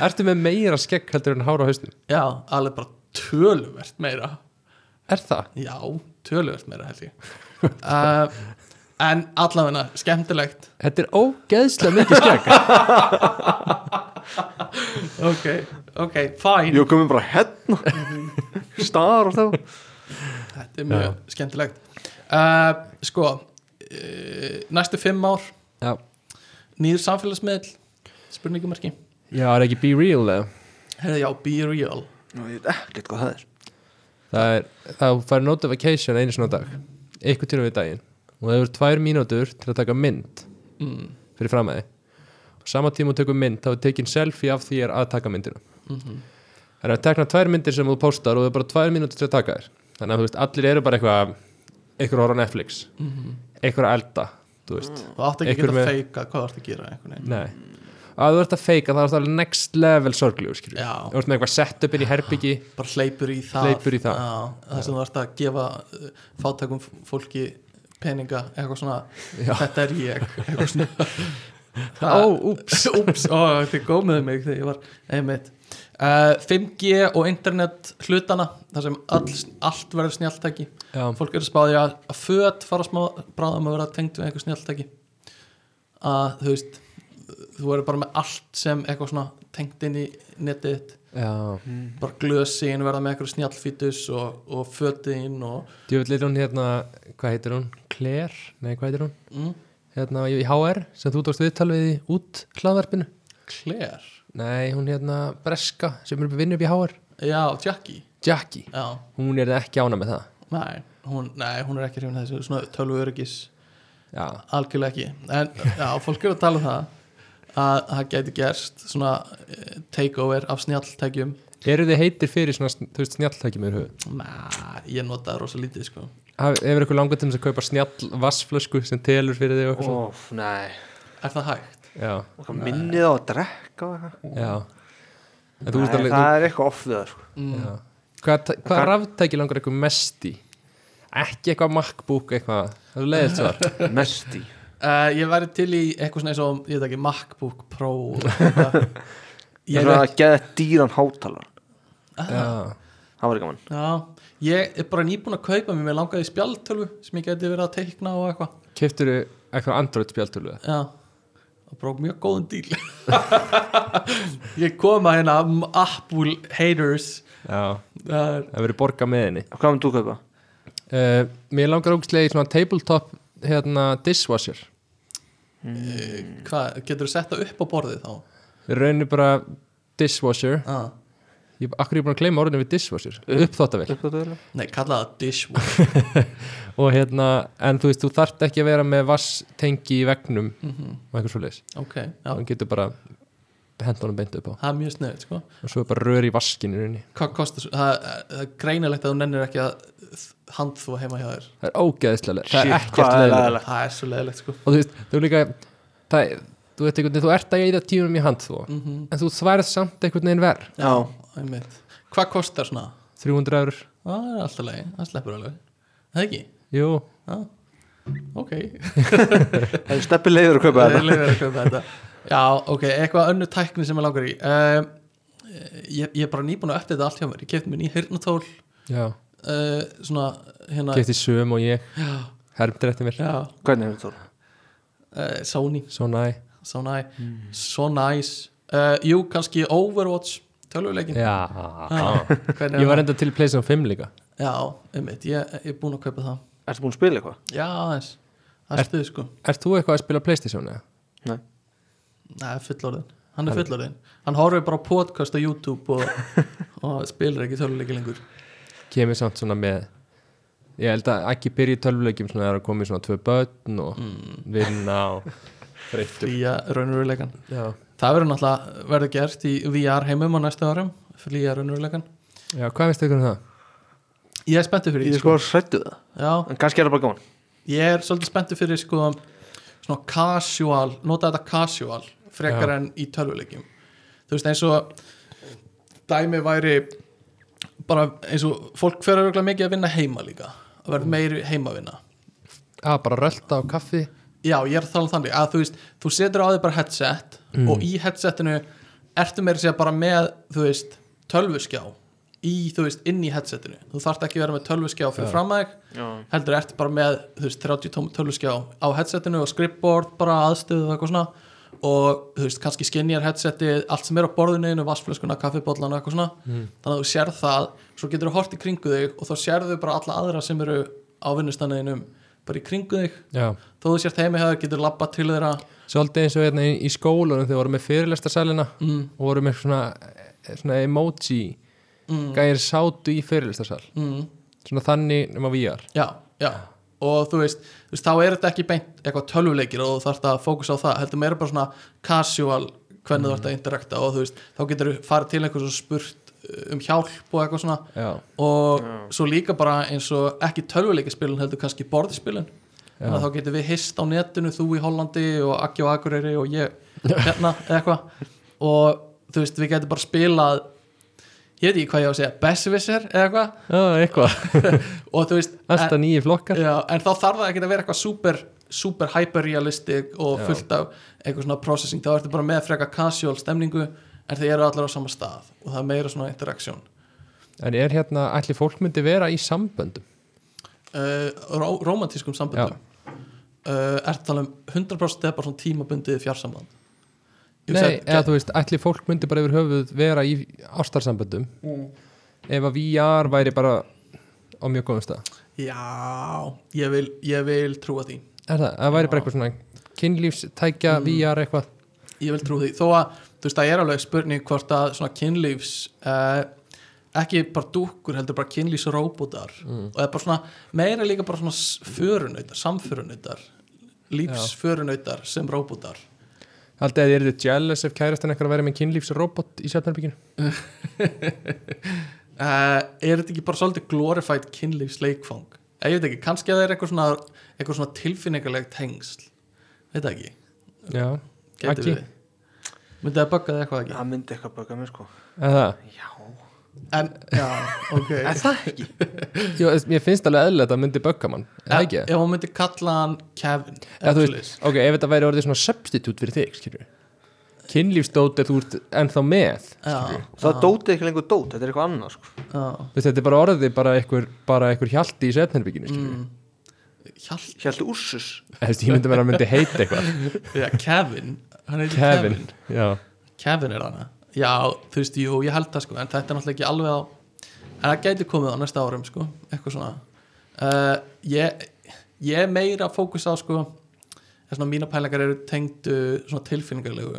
Ertu með meira skegg heldur en hára á haustin?
já, alveg bara töluvert meira
Er það?
Já, töluvert meira held ég uh, En allavegna, skemmtilegt
Þetta er ógeðslega mikið skegg
Ok, ok, fine
Jú, komum bara hérna Star og þá
Þetta er mjög skemmtilegt uh, Sko, uh, næstu fimm ár
Já,
nýður samfélagsmiðl spurningumarki
Já er ekki be real eða?
Herðu, já, be real
Nú, ég veit ekkert hvað það er
Það er, það fær notification einu svona dag Eitthvað til og við daginn Og það eru tvær mínútur til að taka mynd
mm.
fyrir framæði og sama tíma þú tekur mynd þá er tekin selfie af því er að taka myndina Mhm. þannig að tekna tvær myndir sem þú postar og það er bara tvær mínútur til að taka þér þannig að þú veist, allir eru bara eitthvað eitthvað horf á Netflix, eitthvað að elda þú veist,
Þú átt ekki að
Einhver
geta
með-
með... feika hvað þú ert að gera einhvern veginn
nei að þú ert að feika það er það alveg next level sorglu þú
Já.
ert með eitthvað setup inn í herbyggi
bara hleypur í það
Hleypur í það.
já, það sem þú ert að gefa uh, fátækum f- fólki peninga eitthvað svona, þetta er ég eitthvað svona
Ó, úps.
úps, ó, þið gómiðu mig þegar ég var einmitt uh, 5G og internet hlutana þar sem all, allt verður snjáltæki
Já.
Um, fólk eru spáði að, að föt fara smá bráðum að vera tengd við eitthvað snjáltæki að þú veist þú verður bara með allt sem eitthvað svona tengt inn í netið þitt
já,
bara glösin verða með eitthvað snjálfítus og, og fötin og
djöfull er hún hérna hvað heitir hún, Claire, nei hvað heitir hún
mm,
hérna í HR sem þú tókst viðtal við í út hlaðvarpinu
Claire
Nei, hún hérna Breska sem er vinn upp í HR
já, Jackie
Jackie,
já,
hún er ekki ána með það
nei, hún, nei, hún er ekki hrifin þessu svona tölvu öryggis
Já,
algjörlega ekki en já, fólk eru að tala um það að það gæti gerst svona eh, takeover af snjáltækjum
eru þið heitir fyrir svona, sn- þú veist, snjalltækjum yfir höfuð
Næ, ég nota það rosa lítið sko
Haf- Hefur ykkur langar til þess að kaupa snjall vassflösku sem telur fyrir þig og eitthvað
Óf, nei
er það hægt?
svona Já,
Hvað minnið á að drekka og eitthvað?
já En þú
Nei,
veist alveg,
það er eitthvað off við það sko.
þú, já Mm. Hvað, tæ- hvað ráftæki langar ykkur mest í? Ekki eitthvað MacBook eitthvað Það er leiðilt svar
Mest í
Uh, ég væri til í eitthvað svona eins og ég veit ekki, MacBook Pro og þetta. ég
Ég er
er
að geða dýran hátalara
Já,
Það var ekki mann
Já, ég er bara nýbúin að kaupa mér, mér langaði í spjaldtölvu sem ég geti verið að teikna og eitthvað
keftur eitthvað Android spjaltölu eða?
Já, og brók mjög góðan díl Ég kom að hérna m- Apple haters uh,
Já,
Það er,
það verður borga með henni
Hvað mun þú kaupa?
uh, Mér langar ógstlega í svona tabletop hérna dishwasher
hvað, getur þú sett það upp á borðið þá?
Í rauninni bara dishwasher
Já,
ég, akkur ég er búin að gleyma orðinu við dishwasher uppþóttavél
Uppþvottavél.
Nei, kallaði það dishwasher
og hérna, en þú veist, þú þarft ekki að vera með vasstengi í vegnum og einhvers svoleiðis,
Ok, já,
þú getur bara hent honum beint upp á
það er mjög snöð sko.
og svo er bara rör í vaskinu inni.
Hvað kostar svo? Það, það er greinilegt að þú nennir ekki að handþvo heima hjá þér
það er ógeðislega leið, það er
Shit, hvað
ekkert
er
leið
leiðilegt.
Það er svo leðilegt sko
og þú veist, þú líka það, er- þú, veist, einhvern veginn, þú ert að eigða tímum í hand þú
Mm.
en þú sværið samt einhvern veginn verð
Já,
Einmitt. Hvað kostar svona?
300 eur,
Á, Það er alltaf leið, það sleppur alveg Það er ekki?
jú
Já, ok
það er steppi leiður að kaupa
Það er
þetta
leiður að kaupa þetta Já, ok, eitthvað önnu tækni sem ég langar í um, ég, ég er bara nýbúin að uppdata allt hjá mér Ég kefti mér ný hirtnatól
já,
uh, Svona, hérna
getið söm og ég hermdir eftir mér,
Já,
Hvernig er þetta?
uh, Sony
svo næ
so nice, so nice. Uh, jú, kannski Overwatch tölvuleikin
já,
hvernig
ég var
er það?
enda til Playstation 5 líka
já, einmitt, ég, ég er búinn að kaupa það
Ertu búin að spila eitthvað?
já, aðeins, það er stuð sko
Ert þú eitthvað að spila Playstation eða?
Nei
Nei, fullorðin, hann er fullorðin hann horfir bara á podcast á YouTube og, og spilar ekki tölvuleiki lengur
Kemið samt svona með Ég held að ekki byrja í tölvuleikjum svona þegar það er komið svona tvö börn og
Mm.
vinna og þreyttur
flýja raunveruleikan
Já,
eh, það verður náttúrulega verður gert í VR heimum á næstu árum flýja raunveruleikan
já hvað veist ykkur um það?
ég er spenntu fyrir
Ég
því
er sko hrættu það
já,
En kannski er það bara gaman
Ég er svolítið spenntu fyrir sko svona casual, nota þetta casual frekar
Já.
enn í tölvuleikjum þú veist eins og dæmi væri bara eins og fólk fer að mikið að vinna heima líka að verða meiri heimavinna
Já, bara rölda á kaffi
já ég er að tala um þannig að þú veist þú setur á þig bara headset og í headsetinu ertu meiri segja bara með þú veist tölvuskjá í þú veist inn í headsetinu þú þarft ekki að vera með tölvuskjá fyrir fram að þig
Já
heldur ertu bara með þú veist, 30 tóm töluskjá á headsetinu og skrippbord bara aðstöðu og eitthvað svona og þú veist, kannski skinnjar headsetið allt sem er á borðinu, vassflöskuna, kaffibóllana eitthvað svona, þannig að þú sér það svo getur þú hort í kringu þig og þá sérðu bara alla aðra sem eru á vinnustanniðinum bara í kringu þig,
Já,
þó þú sér þeim hefur getur labba til þeirra
svolítið eins og hérna í, í skólanum þegar voru með fyrirlestarsalina mm. og voru með svona, svona emoji gæir sátu í fyrirlestarsal
mm,
svona þannig nema VR
já, já og þú veist, þú veist, þá er þetta ekki beint eitthvað tölvuleikir og þú þarft að fókusa á það heldur meira bara svona casual hvernig þú ert að interakta og þú veist þá getur þú farið til einhvers og spurt uh, um hjálp og eitthvað svona
Já,
og svo líka bara eins og ekki tölvuleikaspilun heldur kannski borðspilun þannig að þá getur við hist á netinu þú í Hollandi og Akki og Akureyri og ég hérna eða eitthvað og þú veist við getum bara spilað ég veit ekki hvað ég á að segja Besserwisser eða eitthvað
já eitthvað
og þú veist en-
Alltaf nýju flokkar
Já, en þá þarf það ekki að vera eitthvað super, super hyperrealistic og
Já.
fullt af eitthvað svona processing, þá ertu bara með frekar casual stemningu en þeir eru allar á sama stað og það er meira svona interaction
En er hérna, ætli fólk myndi vera í samböndum?
uh, ró romantískum samböndum uh, ertu talað um 100% eða bara svona tímabundið fjarsamband Ég
Nei,
hugsaði-
eða þú veist, ætli fólk myndi bara yfir höfuð vera í ástarsamböndum ef að VR væri bara á mjög góðum stað
Já, ég vil, ég vil trúa því
Er það, það væri bara eitthvað svona kynlífstækja, VR eitthvað
ég vil trú því þó að þú veist það er alveg spurning hvort að svona kynlífs eh, ekki bara dúkkur heldur bara kynlífsróbótar
Mm.
og það er bara svona meira líka bara svona s- förunautar, samförunautar lífsförunautar sem róbótar
Haldið að þið eruðu jealous ef kærastan eitthvað væri með kynlífsrobot í sjálfnarbygginu
eh, er þetta ekki bara svolítið glorified kynlífsleikfang Eh, ég veit ekki, kannski að það er eitthvað svona, eitthvað svona tilfinningarlegt hengsl veit það ekki,
Já,
getur
Ekki.
við myndið að bugga það eitthvað ekki
Það myndi eitthvað böka mér sko
eða það
Já
en, já, ok
Er það ekki?
Jó, ég finnst alveg eðlilegt að það myndi bögga mann eða ekki
ef hún myndi kalla hann Kevin
Eða þú
svoleiðis.
veist, ok, ef þetta væri orðið svona substitute fyrir þig, skilur kynlífsdót er þú ert ennþá með
já,
Það dóti ekki lengur dót, þetta er eitthvað annað sko
já.
Þú veist, þetta er bara orðið bara einhver, bara einhver hjalti í sjálfnarbygginu, skilur
Mm. Hjalt,
Hjæltu Úrsus
Þú veist, ég myndi mér að hann myndi heita eitthvað
já, Kevin hann heitir Kevin.
Kevin, já
Kevin er hana já, þú veist, jú, ég held það sko en þetta er náttúrulega ekki alveg á en það gæti komið á næsta árum sko eitthvað svona uh, ég, ég er meira að fókusa á sko eða svona mína pælingar eru tengdu svona tilfinningarlegu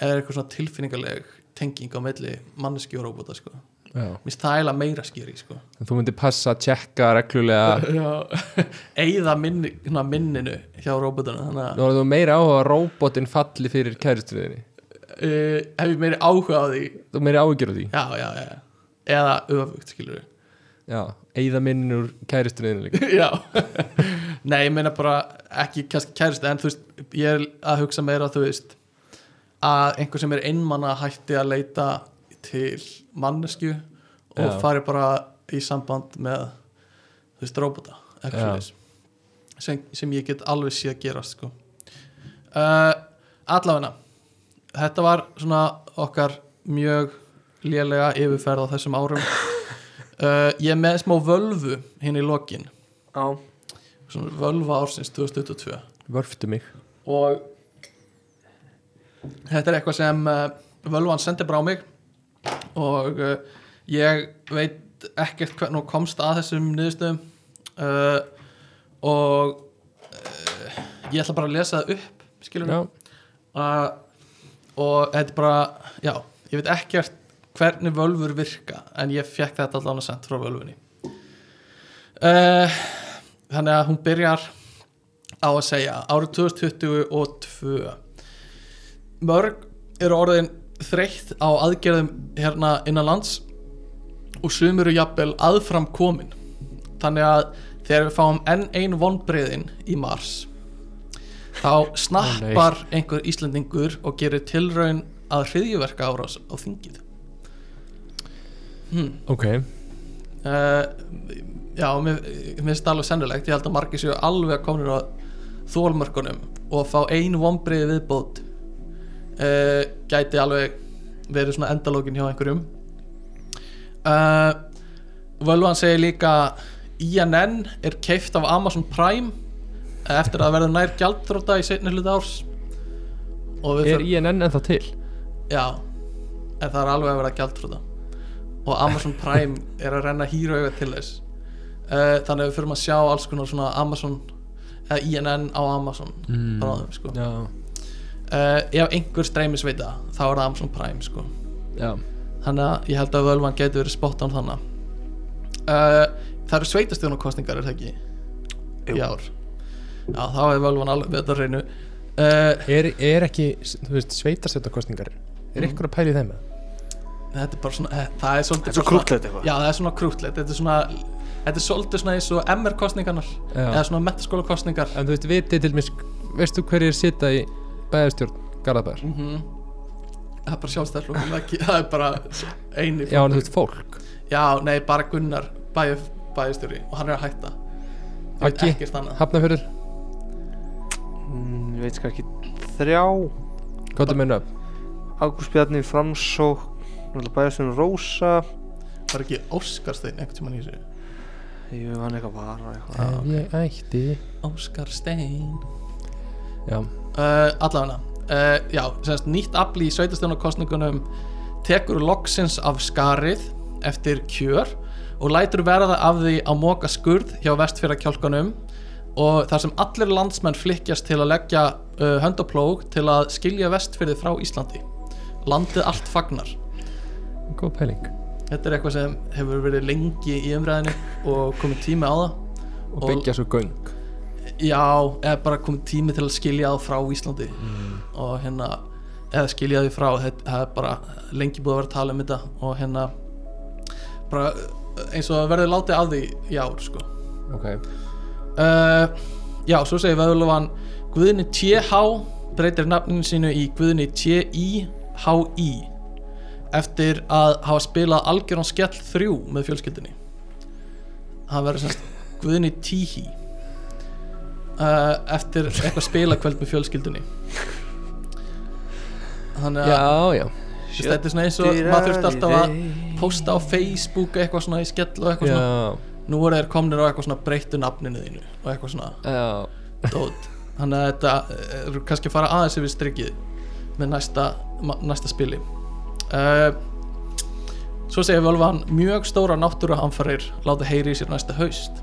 eða eitthvað svona tilfinningarleg tenging á milli manneski og robota sko. mér
Já.
finnst það eiginlega meira skýri sko.
En Þú myndir passa að tjekka reglulega
eigða minni, svona minninu hjá robotanum þannig að
Nú er þú meira áhuga að róbotin falli fyrir kæristriðinni
uh, hef ég meiri áhuga á því
Þú meiri áhugjur á því
já, já, já, eða öfugt skilur
Já, eigða minn úr kæristriðinni líka
já nei, ég meina bara ekki kannski kærist en þú veist, ég er að hugsa meira þú veist, að einhver sem er einmanna hætti að leita til mannesku og
Já.
fari bara í samband með þú veist, robota
Já.
eitthvað svoleiðis. sem, sem ég get alveg sé að gerast sko. uh, allavegna þetta var svona okkar mjög lélega yfirferð á þessum árum uh, ég er með smá völvu hinn í lokin
Já,
svona völva ársins 2022
Vörftu mig
og þetta er eitthvað sem uh, völvan sendi bara á mig og uh, ég veit ekkert hvernig hún komst að þessum niðurstöðum uh, og uh, ég ætla bara að lesa það upp skilur
Já,
uh, og þetta er bara já, ég veit ekkert hvernig völvur virka en ég fekk þetta allan að senda frá völvunni uh, þannig að hún byrjar á að segja árið 2022 mörg eru orðin þreytt á aðgerðum hérna innan lands og sumur eru jafnvel aðfram komin þannig að þegar við fáum enn ein vonbreiðin í mars þá snappar einhver Íslendingur og gerir tilraun að hriðjuverka árás á þingið
ok
uh, já, mér mér finnst það alveg sennilegt ég held að margir séu alveg komin á þólmörkunum og að fá ein vombriði viðbót uh, gæti alveg verið svona endalókin hjá einhverjum uh, Völvan segir líka INN er keift af Amazon Prime eftir að verða nær gjaldþróta í seinni hluta árs og við
Er INN ennþá til?
Já, en það er alveg að vera gjaldtrúta og Amazon Prime er að renna hýra auðvitað til þess uh, þannig að við fyrir að sjá alls konar svona Amazon eh, eða INN á Amazon mm. bráðum sko uh,
Já,
ef einhver streymisveita þá er það Amazon Prime sko
já
þannig að ég held að völvan getur verið spot on þannig uh, það eru sveitastjónarkostningar er það ekki? Jú. í ár já þá er völvan alveg við þetta á hreinu uh,
Er, er ekki, þú veist, sveitarstjórnarkostningar Er ykkur að pæli þeim?
þetta er bara svona eh, það er svolítið
þetta
bara
er svo
svona-
krútlegt eitthvað
Já, það er svona krútlegt Þetta er svona Þetta er svolítið svona eins og MR kostningarnar
Já.
Eða svona metaskóla kostningar
En þú veist, vitið til mér, veistu hverjir sita í bæðarstjórn Garðabæðar?
Mhm. Það er bara sjálfstæðarflokkum ekki Það er bara eini
Já, en þú veist, fólk
Já, nei, bara Gunnar bæ, bæjastjóri Og hann er að hætta Ég veit
Aggi?
Ekkert annað
Hafnafjörður,
Mm, Ég veit kannski þrjá
hvað þú meina?
Ágúst Bjarni, Framsókn Bæjarstjórn Rósa
Var ekki Óskarstein einhvern tímann í þessu
Jú, hann eitthvað var og eitthvað
Ah,
Ef ég ætti
Óskarstein
Já,
uh, Allafana uh, Já, semst nýtt afli í sveitastjónarkostningunum Tekur loksins af skarið Eftir kjör Og lætur verða af því á móka skurð Hjá vestfyrir kjálkanum Og þar sem allir landsmenn flykkjast til að leggja uh, hönd á plóg Til að skilja vestfyrið frá Íslandi Landið allt fagnar
góð pæling
Þetta er eitthvað sem hefur verið lengi í umræðinu Og komið tími á það
Og
Og-
byggja svo göng
Já, eða bara komið tími til að skilja það frá Íslandi og hérna, eða skilja því frá þetta það er bara lengi búið að vera að tala um þetta og hérna bara uh, eins og það verður látið af því í ár sko
Ok,
uh, Já, svo segir Vöðlufan Guðni TH breytir nafninu sínu í Guðni TIHI eftir að hafa spilað algjörn skell 3 með fjölskyldinni hann verður semst Guðni TIHI uh, eftir eitthvað spilakveld með fjölskyldinni þannig að
já, já
þú veist, þetta er svona eins og maður þurfti alltaf að posta á Facebook eitthvað svona í skell og eitthvað svona
Já,
nú voru þeir komnir á eitthvað svona breyttu nafninu þínu og eitthvað svona
já
dót þannig að þetta eru kannski að fara aðeins yfir strikið með næsta, ma- næsta spili uh, svo segir Völvan mjög stóra náttúruhamfarir láta heyri í sér næsta haust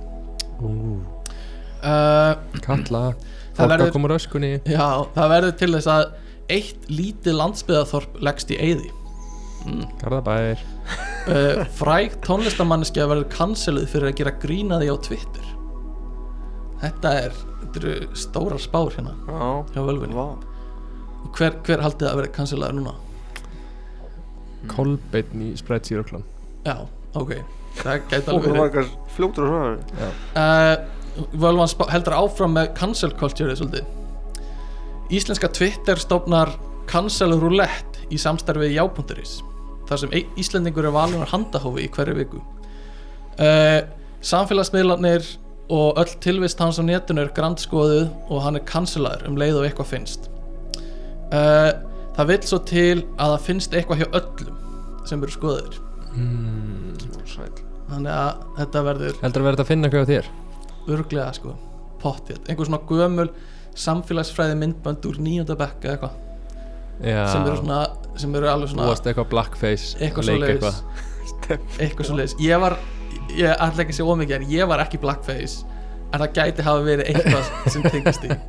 uh,
Kalla, fólk
Það
að
verður-
koma úr öskunni
já, það verður til þess að eitt lítið landsbyðaþorp leggst í eyði
Garðabæðir
uh, fræg tónlistamanniski verður canceluð fyrir að gera grína því á Twitter þetta er þetta eru stórar spár hérna
Já,
hjá völvunni
vá
hver, hver haldið að verða cancelaður núna?
Kolbeinn í Spread Zero Clan
já, ok það gæti alveg
Og hvað
verið
var eitthvað fljótur og svona
uh, Völvan spá- heldur áfram með cancel culture svolítið Íslenska Twitter stofnar cancel roulette í samstarfið jápunduris þar sem einn Íslendingur er valinn á handahófi í hverju viku uh, Samfélagsmiðlarnir og öll tilvist hans á netinu er grandskoðuð og hann er cancelaður um leið og eitthvað finnst uh, Það vill svo til að það finnst eitthvað hjá öllum sem eru skoðuðir Þannig að þetta verður
Heldur að verða að finna eitthvað á þér?
örglega sko pottið, einhver svona gömul samfélagsfræði myndbönd úr nýjönda bekka eitthvað,
Já
sem eru svona sem eru alveg svona
Búast eitthvað blackface
eitthvað
leik
svo leiðis
eitthvað.
eitthvað svo leiðis, ég var ég ætla ekki að segja ómikið en ég var ekki blackface en það gæti hafa verið eitthvað sem tengist í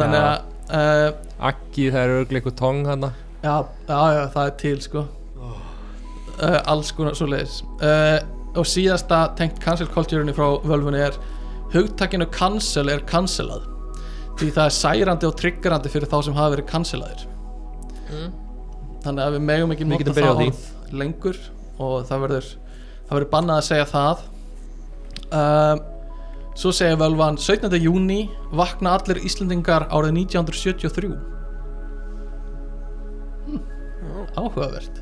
þannig að uh,
Aggi það er örglega eitthvað tong hana
já, já, já, það er til sko uh, alls konar svo leiðis uh, og síðasta tengt cancel culture-unni frá völfunni er hugtakinu cancel er cancelað því það er særandi og triggerandi fyrir þá sem hafa verið cancelaðir þannig að við megum ekki
Mm. Við
nota
getum byrjað á
það
því.
orð lengur og það verður það verður bannað að segja það um, svo segja völvan 17. júni vakna allir Íslendingar árið 1973 hm, áhugavert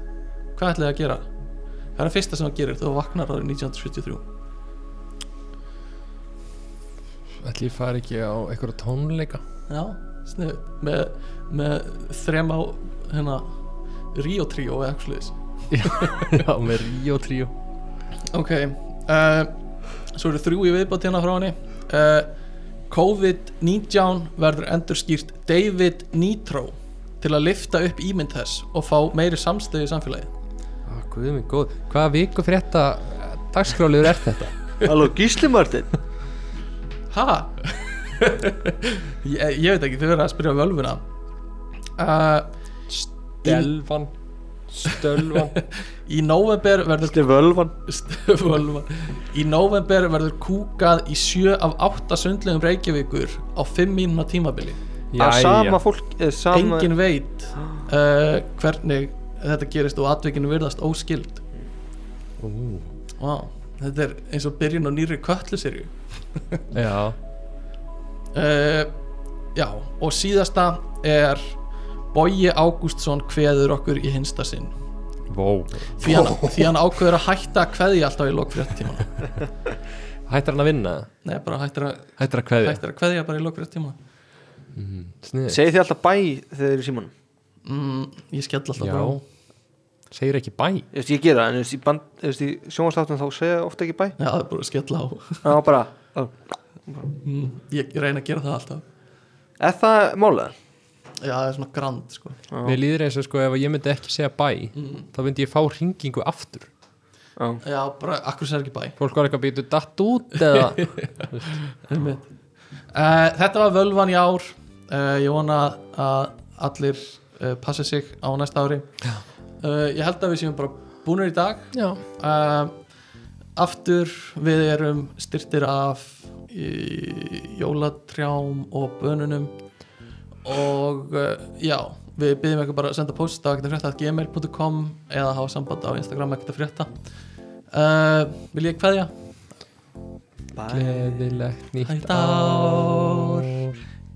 hvað ætlaði að gera? hvað er það fyrsta sem það gerir þegar þú vaknar árið 1973
Ætli ég fari ekki á eitthvað tónleika
já, sniðu með, með þrem á hérna, Rio Trio eða eitthvað sliðis
Já, með Rio Trio
Ok uh, Svo eru þrjú í viðbátt hérna frá henni uh, COVID-19 verður endurskýrt David Nitro til að lifta upp ímynd þess og fá meiri samstöðu í samfélagi
ah, Guð minn góð Hvaða viku frétta dagskráliður er þetta?
Halló, Gísli Martin
Ha? ég, ég veit ekki, þið verður að spyrja um völvuna uh,
Stelvan Stölvan
Í november verður
Gísli Völvan
Völva. Í november verður kúkað í sjö af átta sundlegum Reykjavíkur á fimm mínuna tímabili
Að sama fólk eh, sama...
engin veit uh, hvernig þetta gerist og atvikinu virðast óskild wow. þetta er eins og byrjun á nýri kölluserju
Já
uh, já, og síðasta er Bogi Ágústsson kveður okkur í hinsta sinn
Vó
því hann, því hann ákveður að hætta að kveðja alltaf í lokfréttímana
Hættar hann að vinna?
nei, bara hættir að,
Hættar að kveðja
hættir að kveðja bara í lokfréttímana
Snið
Segið þið alltaf bæ þegar þið eru í símanum
mm, ég skell alltaf
Já
bara á.
Segir ekki bæ
Ég veist, ég gera það, en þú veist, í band- þú veist, í sjónvastáttum þá segja ég ofta ekki bæ
já, það er bara að skella á
Já, bara, ó.
mm, ég reyna að gera það alltaf
er það málega?
já, það er svona grand sko
Mér líður eins og sko ef ég myndi ekki segja bæ þá myndi ég fá hringingu aftur
Já, bara akkur sér ekki bæ
Fólk var eitthvað býtu datt út eða
uh, Eh, Þetta var völvan í ár uh, Ég vona að allir uh, passi sig á næsta ári uh, Ég held að við séum bara búnir í dag
Já
uh, Aftur við erum styrtir af í, jólatrjám og bönunum og uh, já við byggjum eitthvað bara að senda post á ekkertafrétta.gmail.com eða hafa samband á Instagram ekkertafrétta uh, Vil ég kveðja?
Gleðilegt nýtt
Hætt ár,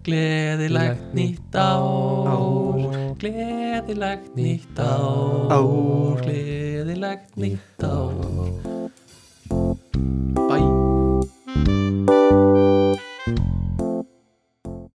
gleðilegt nýtt ár, gleðilegt nýtt ár, gleðilegt nýtt ár,